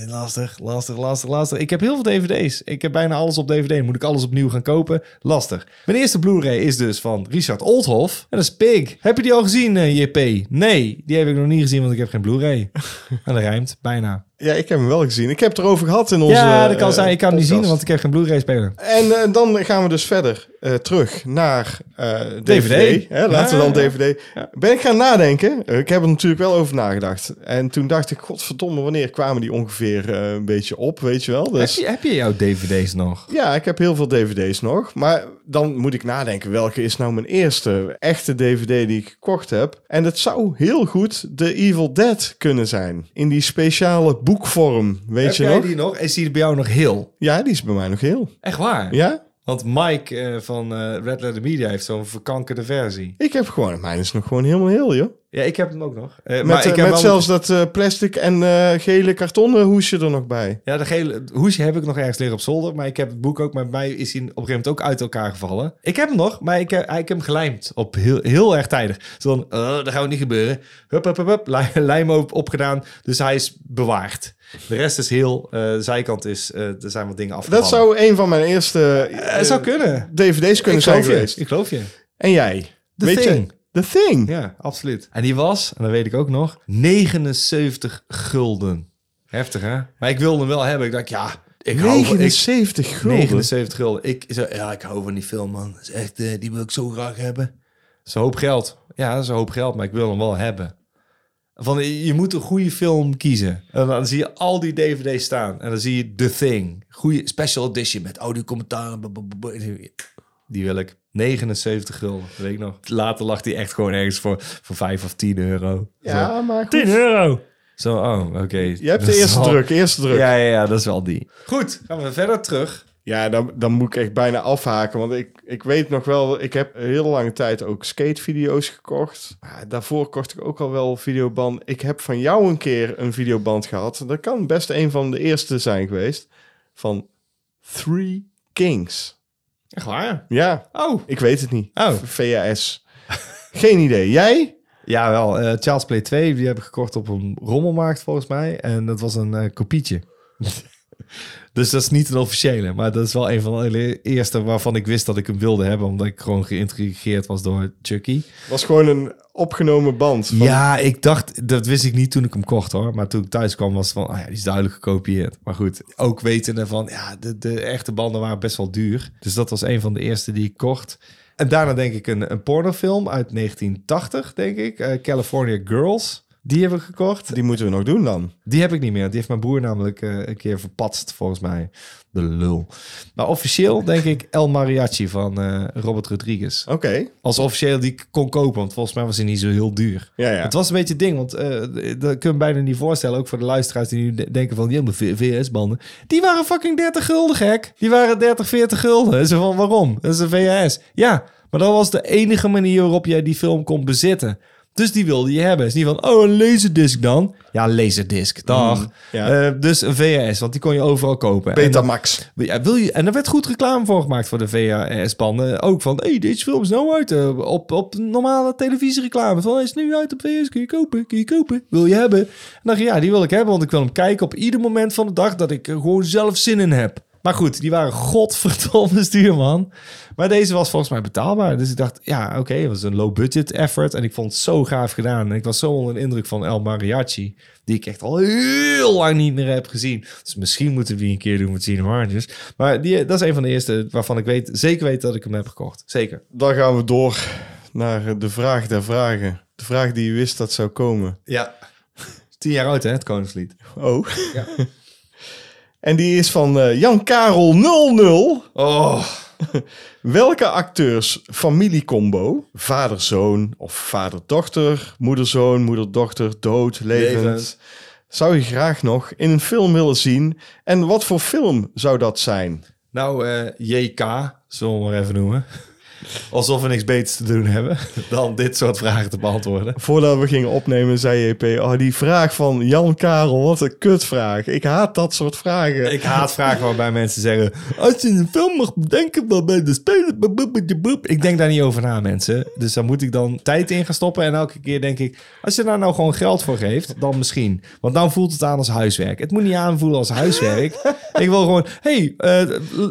S2: lastig, lastig, lastig, lastig. Ik heb heel veel dvd's. Ik heb bijna alles op dvd. Moet ik alles opnieuw gaan kopen? Lastig. Mijn eerste Blu-ray is dus van Richard Oldhoff. En dat is Pig. Heb je die al gezien, eh, JP? Nee, die heb ik nog niet gezien, want ik heb geen [laughs] Blu-ray. en dat rijmt, bijna.
S1: Ja, ik heb hem wel gezien. Ik heb het erover gehad in onze
S2: ja, dat kan
S1: eh,
S2: zijn. Ik kan hem niet zien,
S1: podcast.
S2: want ik heb geen Blu-ray speler.
S1: En eh, dan gaan we dus verder eh, terug naar eh, DVD.
S2: DVD.
S1: Hè, laten we dan
S2: Ja, ja.
S1: DVD. Ben ik gaan nadenken. Eh, Ik heb er natuurlijk wel over nagedacht. En toen dacht ik, godverdomme, wanneer kwamen die ongeveer eh, een beetje op, weet je wel? Dus,
S2: Heb, je, heb je jouw dvd's nog?
S1: ja, ik heb heel veel DVD's nog. Maar dan moet ik nadenken, welke is nou mijn eerste echte DVD die ik gekocht heb? En het zou heel goed de Evil Dead kunnen zijn. In die speciale boekvorm, weet
S2: Heb
S1: je
S2: jij
S1: nog?
S2: die nog? Is die bij jou nog heel?
S1: Ja, die is bij mij nog heel.
S2: Echt waar?
S1: Ja?
S2: Want Mike eh, van eh, Red Letter Media heeft zo'n verkankerde versie.
S1: Ik heb gewoon, mijn is nog gewoon helemaal heel, joh.
S2: Ja, ik heb hem ook nog. Eh,
S1: Met, eh,
S2: ik heb
S1: met
S2: wel-
S1: zelfs dat eh, plastic en eh, gele kartonnen hoesje er nog bij.
S2: Ja, de gele hoesje heb ik nog ergens liggen op zolder. Maar ik heb het boek ook, maar bij mij is hij op een gegeven moment ook uit elkaar gevallen. Ik heb hem nog, maar ik heb, ik heb hem gelijmd. Op heel, heel erg tijdig. Zo van, eh, dat gaat niet gebeuren. Hup, hup, hup, hup. li- Lijm op, opgedaan. Dus hij is bewaard. De rest is heel. eh, de zijkant is, eh, er zijn wat dingen
S1: Dat
S2: afgevallen.
S1: zou een van mijn eerste
S2: Eh,
S1: eh,
S2: het zou kunnen.
S1: DVD's kunnen
S2: Ik
S1: zijn
S2: geloof je.
S1: geweest.
S2: Ik geloof je.
S1: En jij?
S2: The
S1: Weet
S2: Thing.
S1: Je? The Thing.
S2: Ja, absoluut. En die was, en dat weet ik ook nog, 79 gulden. Heftig, hè? Maar ik wilde hem wel hebben. Ik dacht, ja, ik hou van... Ik,
S1: 79 gulden.
S2: 79 gulden. Ik zo, ja, ik hou van die film, man. Dat is echt, eh, die wil ik zo graag hebben. Dat is een hoop geld. Ja, dat is een hoop geld, maar ik wil hem wel hebben. Van, eh, je moet een goede film kiezen. En dan zie je al die dvd's staan. En dan zie je The Thing. Goede special edition met audio commentaar. Die wil ik. 79 gulden, dat weet ik nog. Later lag die echt gewoon ergens voor, voor 5 of 10 euro. Zo,
S1: Ja, maar goed.
S10: 10 euro.
S2: zo, oh, oké.
S1: Je hebt
S2: Dat
S1: de
S2: is
S1: eerste
S2: wel-
S1: druk, eerste druk. Ja,
S2: Ja, ja, ja, dat is wel die. Goed, gaan we verder terug.
S1: dan, dan moet ik echt bijna afhaken. Want ik, ik weet nog wel, ik heb heel lange tijd ook skatevideo's gekocht. Maar daarvoor kocht ik ook al wel videoband. Ik heb van jou een keer een videoband gehad. Dat kan best een van de eerste zijn geweest. Van Three Kings.
S2: Echt waar?
S1: Ja,
S2: Oh.
S1: ik weet het niet.
S2: Oh.
S1: V- VHS. [laughs] Geen idee. Jij?
S2: Jawel, eh Charles Play 2, die heb ik gekocht op een rommelmarkt volgens mij. En dat was een eh, kopietje. [laughs] dus dat is niet een officiële, maar dat is wel een van de eerste waarvan ik wist dat ik hem wilde hebben. Omdat ik gewoon geïntrigeerd was door Chucky.
S1: Was gewoon een opgenomen band. Van,
S2: Ja, ik dacht, dat wist ik niet toen ik hem kocht hoor. Maar toen ik thuis kwam was het van, ah ja, die is duidelijk gekopieerd. Maar goed, ook wetende van, ja, de, de echte banden waren best wel duur. Dus dat was een van de eerste die ik kocht. En daarna denk ik een, een pornofilm uit 1980, denk ik. eh, California Girls. Die heb ik gekocht.
S1: Die moeten we nog doen dan.
S2: Die heb ik niet meer. Die heeft mijn broer namelijk eh, een keer verpatst, volgens mij. De lul. Maar officieel denk ik El Mariachi van eh, Robert Rodriguez.
S1: Oké.
S2: Als officieel die ik kon kopen, want volgens mij was hij niet zo heel duur.
S1: Ja, ja.
S2: Het was een beetje het ding, want eh, dat kun je bijna niet voorstellen. Ook voor de luisteraars die nu de- denken van, ja, maar VHS-banden. Die waren fucking 30 gulden, gek. Die waren 30, 40 gulden. Ze van, waarom? Dat is een VHS. Ja, maar dat was de enige manier waarop jij die film kon bezitten. Dus die wilde je hebben. Het is niet van, oh, een laserdisc dan. Ja, laserdisc, dag.
S1: Mm, ja.
S2: Eh, dus een VHS, want die kon je overal kopen. En dan-
S1: Betamax.
S2: ja, wil je, en er werd goed reclame voor gemaakt voor de VHS-banden. Ook van, hey, deze film is nou uit eh, op, op normale televisiereclame. Van, hij is nu uit op VHS, kun je kopen, kun je kopen, wil je hebben? En dan dacht ik, ja, die wil ik hebben, want ik wil hem kijken op ieder moment van de dag dat ik er gewoon zelf zin in heb. Maar goed, die waren godverdomme [laughs] duur, man. Maar deze was volgens mij betaalbaar. Dus ik dacht, ja, oké, het was een low-budget effort. En ik vond het zo gaaf gedaan. En ik was zo onder de indruk van El Mariachi. Die ik echt al heel lang niet meer heb gezien. Dus misschien moeten we die een keer doen met Cine Marges. Maar die, dat is een van de eerste waarvan ik weet, zeker weet dat ik hem heb gekocht. Zeker.
S1: Dan gaan we door naar eh, de vraag der vragen. De vraag die je wist dat zou komen.
S2: Ja. Tien jaar oud, hè, het Koningslied.
S1: Oh. [laughs] en die is van eh, Jan Karel 00.
S2: Oh.
S1: [laughs] Welke acteurs familiecombo, vader-zoon of vader-dochter, moeder-zoon, moeder-dochter, dood, levend,
S2: Levend.
S1: zou je graag nog in een film willen zien? En wat voor film zou dat zijn?
S2: Nou, eh, JK, zullen we maar even noemen. Alsof we niks beters te doen hebben dan dit soort vragen te beantwoorden.
S1: Voordat we gingen opnemen, zei JP... Oh, die vraag van Jan Karel, wat een kutvraag. Ik haat dat soort vragen.
S2: Ik haat vragen waarbij mensen zeggen... Als je een film mag bedenken waarbij de speler... boep, boep, boep, boep." Ik denk daar niet over na, mensen. Dus daar moet ik dan tijd in gaan stoppen. En elke keer denk ik... Als je daar nou gewoon geld voor geeft, dan misschien. Want dan voelt het aan als huiswerk. Het moet niet aanvoelen als huiswerk. ik wil gewoon... hey, eh,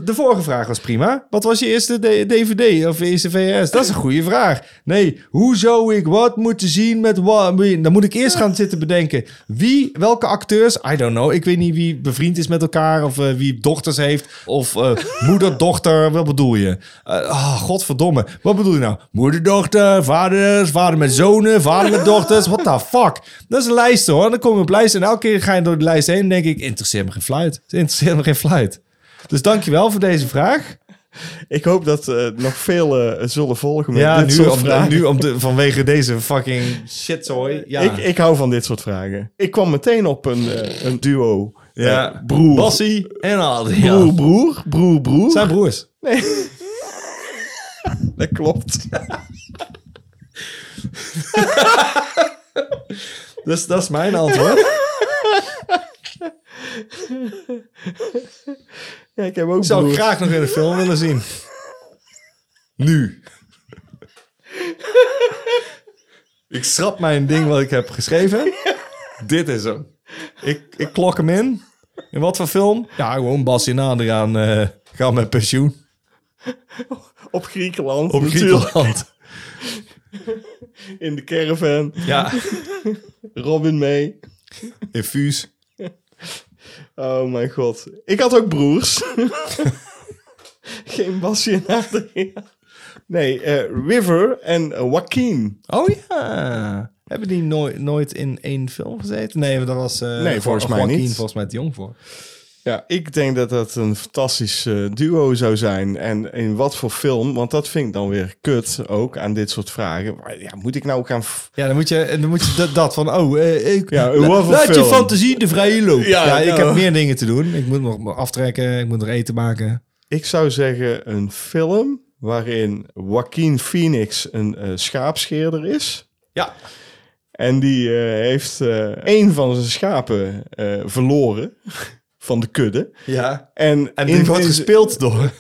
S2: de vorige vraag was prima. Wat was je eerste D- DVD of eerste VS? Dat is een goede vraag. Nee, hoe zou ik wat moeten zien met wat? Dan moet ik eerst gaan zitten bedenken. Wie, welke acteurs? I don't know. Ik weet niet wie bevriend is met elkaar. Of eh, wie dochters heeft. Of eh, [laughs] moeder, dochter. Wat bedoel je? Eh, ah, godverdomme. Wat bedoel je nou? Moeder, dochter, vader, vader met zonen, vader met dochters. What the fuck? Dat is een lijst hoor. Dan kom je op lijsten. En elke keer ga je door de lijst heen. En denk ik, interesseert me geen fluit. Het interesseert me geen fluit. Dus dankjewel voor deze vraag.
S1: Ik hoop dat eh, nog veel eh, zullen volgen met
S2: Ja,
S1: dit
S2: nu,
S1: soort
S2: om, de-
S1: vragen.
S2: nu om de, vanwege deze fucking shitzooi. Ja.
S1: Ik, ik hou van dit soort vragen. Ik kwam meteen op een, eh, een duo.
S2: ja.
S1: Eh, broer.
S2: Bassie en Adriaan.
S1: Broer, broer, broer, broer.
S2: Zijn broers.
S1: Dat klopt.
S2: Dus dat is mijn antwoord.
S1: Ja, ik heb ook
S2: Ik zou
S1: broer.
S2: het graag nog in de film willen zien. Nu. Ik schrap mijn ding wat ik heb geschreven. Dit is hem. Ik, ik klok hem in. In wat voor film? Ja, gewoon Bassie en Adriaan eh, gaan met pensioen.
S1: Op Griekenland.
S2: Op
S1: natuurlijk.
S2: Griekenland.
S1: In de caravan.
S2: Ja.
S1: Robin mee.
S2: [laughs] Infuus.
S1: Oh mijn god. Ik had ook broers. [laughs] Geen Basje en Adriaan. Nee, eh, River en eh, Joaquin.
S2: Oh ja. Hebben die nooit, nooit in één film gezeten? Nee, dat was... eh,
S1: Nee, volgens mij
S2: Joaquin
S1: niet.
S2: volgens mij te jong voor.
S1: Ja, ik denk dat dat een fantastisch eh, duo zou zijn. En in wat voor film, want dat vind ik dan weer kut ook aan dit soort vragen. Maar ja, moet ik nou gaan... f-
S2: Ja, dan moet je, dan moet je dat, dat van... Oh, eh, ik,
S1: Ja,
S2: la-
S1: wat voor
S2: laat je
S1: film?
S2: fantasie de vrije loop. Ja,
S1: Ja,
S2: ik
S1: nou.
S2: heb meer dingen te doen. Ik moet nog aftrekken. Ik moet nog eten maken.
S1: Ik zou zeggen een film waarin Joaquin Phoenix een eh, schaapscheerder is.
S2: Ja.
S1: En die eh, heeft eh één van zijn schapen eh, verloren van de kudde.
S2: Ja.
S1: En,
S2: En
S1: in
S2: die wordt
S1: deze-
S2: gespeeld door...
S1: [laughs]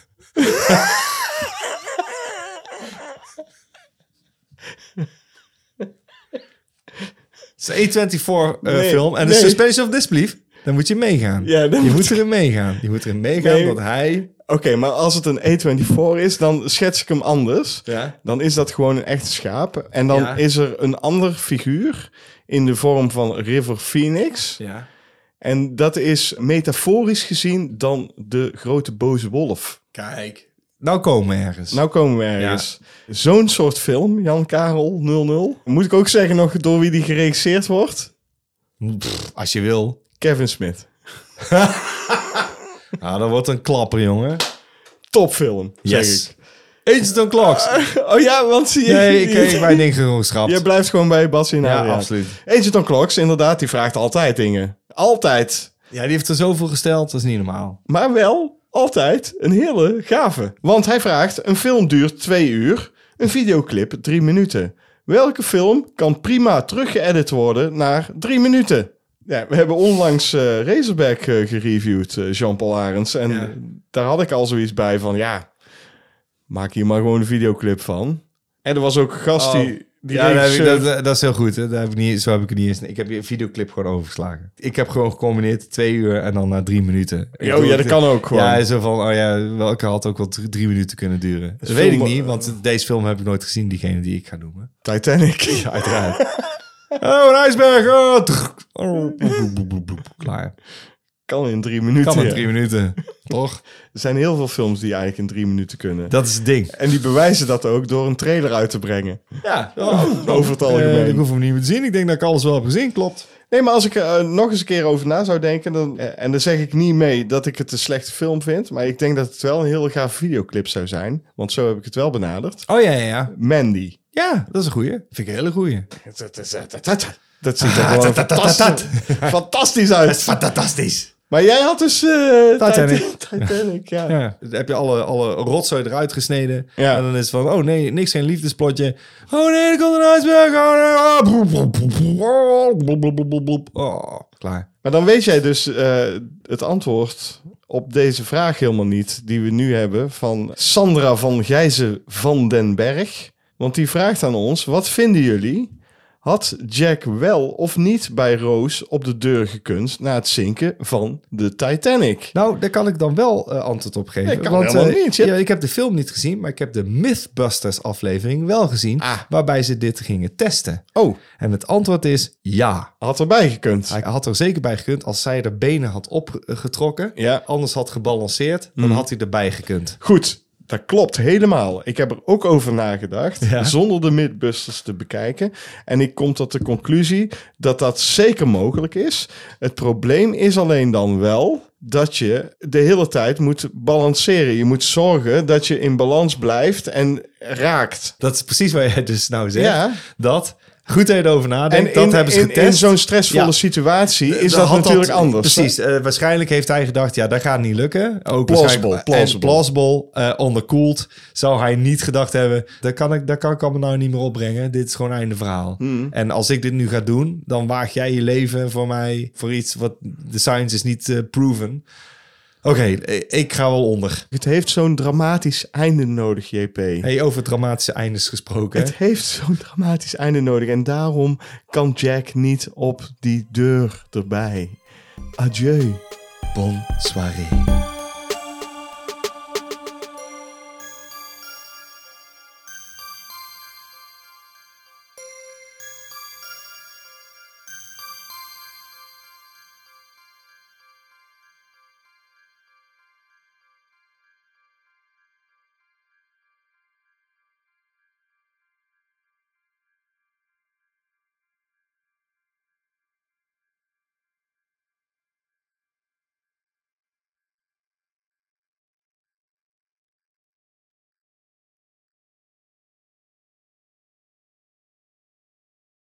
S2: Het is een A24 eh,
S1: Nee,
S2: film. En de
S1: nee.
S2: suspension of disbelief. Dan moet je meegaan.
S1: Ja, dan
S2: je
S1: moet-
S2: moet erin meegaan. Je moet erin meegaan
S1: Nee.
S2: dat hij...
S1: Oké, maar als het een E24 is, dan schets ik hem anders.
S2: Ja.
S1: Dan is dat gewoon een echt schaap. En dan
S2: Ja.
S1: is er een ander figuur in de vorm van River Phoenix.
S2: Ja.
S1: En dat is metaforisch gezien dan de grote boze wolf.
S2: Kijk. Nou komen we ergens.
S1: Nou komen we ergens. Zo'n soort film, Jan Karel 00. Moet ik ook zeggen nog door wie die geregisseerd wordt? Nou-
S2: Pff, als je wil.
S1: Kevin Smith.
S2: Ah, dat wordt een klapper, jongen.
S1: Topfilm, zeg ik. [laughs]
S2: Instant clocks.
S1: Oh ja, want zie je...
S2: Nee, ik kreeg mijn ding gewoon geschrapt.
S1: Je blijft gewoon bij Bas in
S2: Ja,
S1: Adriaan.
S2: absoluut.
S1: Agent on Clocks, inderdaad, die vraagt altijd dingen. Altijd.
S2: Ja, die heeft er zoveel gesteld. Dat is niet normaal.
S1: Maar wel altijd een hele gave. Want hij vraagt, een film duurt twee uur, een videoclip drie minuten. Welke film kan prima teruggeëdit worden naar drie minuten? Ja, we hebben onlangs eh, Razorback eh, gereviewd, eh, Jean-Paul Arends. En
S2: Ja.
S1: daar had ik al zoiets bij van, ja, maak hier maar gewoon een videoclip van. En er was ook een gast die... die
S2: Oh.
S1: eh,
S2: ja, dat, heb ik-
S1: regisseur-
S2: dat, dat is heel goed. Hè. Dat heb ik niet, zo heb ik het niet eens. Ik heb je videoclip gewoon overgeslagen. Ik heb gewoon gecombineerd twee uur en dan na drie minuten. Ik
S1: Oh ja, dat kan ook gewoon.
S2: Ja, zo van, oh ja, welke had ook wel drie, drie minuten kunnen duren. Dat weet ik
S1: film-
S2: niet, want deze film heb ik nooit gezien, diegene die ik ga
S1: [laughs]
S2: noemen. [laughs]
S1: Titanic.
S2: eh, Uiteraard. oh, een ijsberg. oh, trrr. Oh, boep, boep, boep, boep, boep. Klaar.
S1: Kan in drie minuten.
S2: Kan in
S1: ja.
S2: drie minuten. Toch?
S1: Er zijn heel veel films die eigenlijk in drie minuten kunnen.
S2: Dat is het ding.
S1: En die bewijzen dat ook door een trailer uit te brengen.
S2: Ja.
S1: Over het
S2: Oh, Eh, ik
S1: algemeen.
S2: hoef hem niet meer te zien. Ik denk dat ik alles wel heb gezien. Klopt.
S1: Nee, maar als ik er eh, nog eens een keer over na zou denken... Dan, eh, en dan zeg ik niet mee dat ik het een slechte film vind... maar ik denk dat het wel een hele gaaf videoclip zou zijn. Want zo heb ik het wel benaderd.
S2: Oh ja, ja, ja.
S1: Mandy.
S2: Ja, dat is een goeie. Vind ik een hele goeie.
S1: Dat ziet er gewoon fantastisch,
S2: [laughs]
S1: fantastisch uit.
S2: Fantastisch.
S1: Maar jij had dus eh,
S2: Titanic.
S1: Titanic, ja.
S2: Ja. Dan heb je alle, alle rotzooi eruit gesneden.
S1: Ja.
S2: En dan is het van, oh nee, niks, geen liefdesplotje. Oh nee, er komt een ijsberg. Oh, nee, ah, broep, broep, broep, broep, oh, broep, broep, broep, broep, broep. Oh, klaar.
S1: Maar dan weet jij dus eh, het antwoord op deze vraag helemaal niet die we nu hebben van Sandra van Gijzen van den Berg. Want die vraagt aan ons, wat vinden jullie? Had Jack wel of niet bij Roos op de deur gekunst na het zinken van de Titanic?
S2: Nou, daar kan ik dan wel eh, antwoord op geven.
S1: Nee, kan
S2: want
S1: helemaal
S2: eh,
S1: niet, hè?
S2: ja, ik heb de film niet gezien, maar ik heb de Mythbusters aflevering wel gezien. Waarbij ze dit gingen testen.
S1: Ah. Oh,
S2: En het antwoord is ja.
S1: had erbij gekund.
S2: Hij had er zeker bij gekund als zij haar benen had opgetrokken.
S1: Ja. Mhm.
S2: Anders had gebalanceerd, dan had hij erbij gekund.
S1: Goed, dat klopt helemaal. Ik heb er ook over nagedacht,
S2: Ja.
S1: zonder de Midbusters te bekijken. En ik kom tot de conclusie dat dat zeker mogelijk is. Het probleem is alleen dan wel dat je de hele tijd moet balanceren. Je moet zorgen dat je in balans blijft en raakt.
S2: Dat is precies waar jij dus nou zegt.
S1: Ja.
S2: Dat, goed dat je erover nadenkt, dat
S1: in,
S2: hebben ze
S1: in,
S2: getest.
S1: in zo'n stressvolle
S2: Ja.
S1: situatie is
S2: Dan
S1: dat,
S2: had
S1: natuurlijk anders.
S2: Precies, eh, waarschijnlijk heeft hij gedacht, ja, dat gaat niet lukken. Ook
S1: Plausible,
S2: waarschijnlijk-
S1: plausible.
S2: En plausible, eh, onderkoeld. Zou hij niet gedacht hebben, dat kan ik, dat kan ik allemaal nou niet meer opbrengen. Dit is gewoon einde verhaal.
S1: Hmm.
S2: En als ik dit nu ga doen, dan waag jij je leven voor mij, voor iets wat de science is niet eh, proven. Oké, eh, ik ga wel onder.
S1: Het heeft zo'n dramatisch einde nodig, JP.
S2: Hey, over dramatische eindes gesproken.
S1: Het heeft zo'n dramatisch einde nodig. En daarom kan Jack niet op die deur erbij. Adieu.
S2: Bon soirée.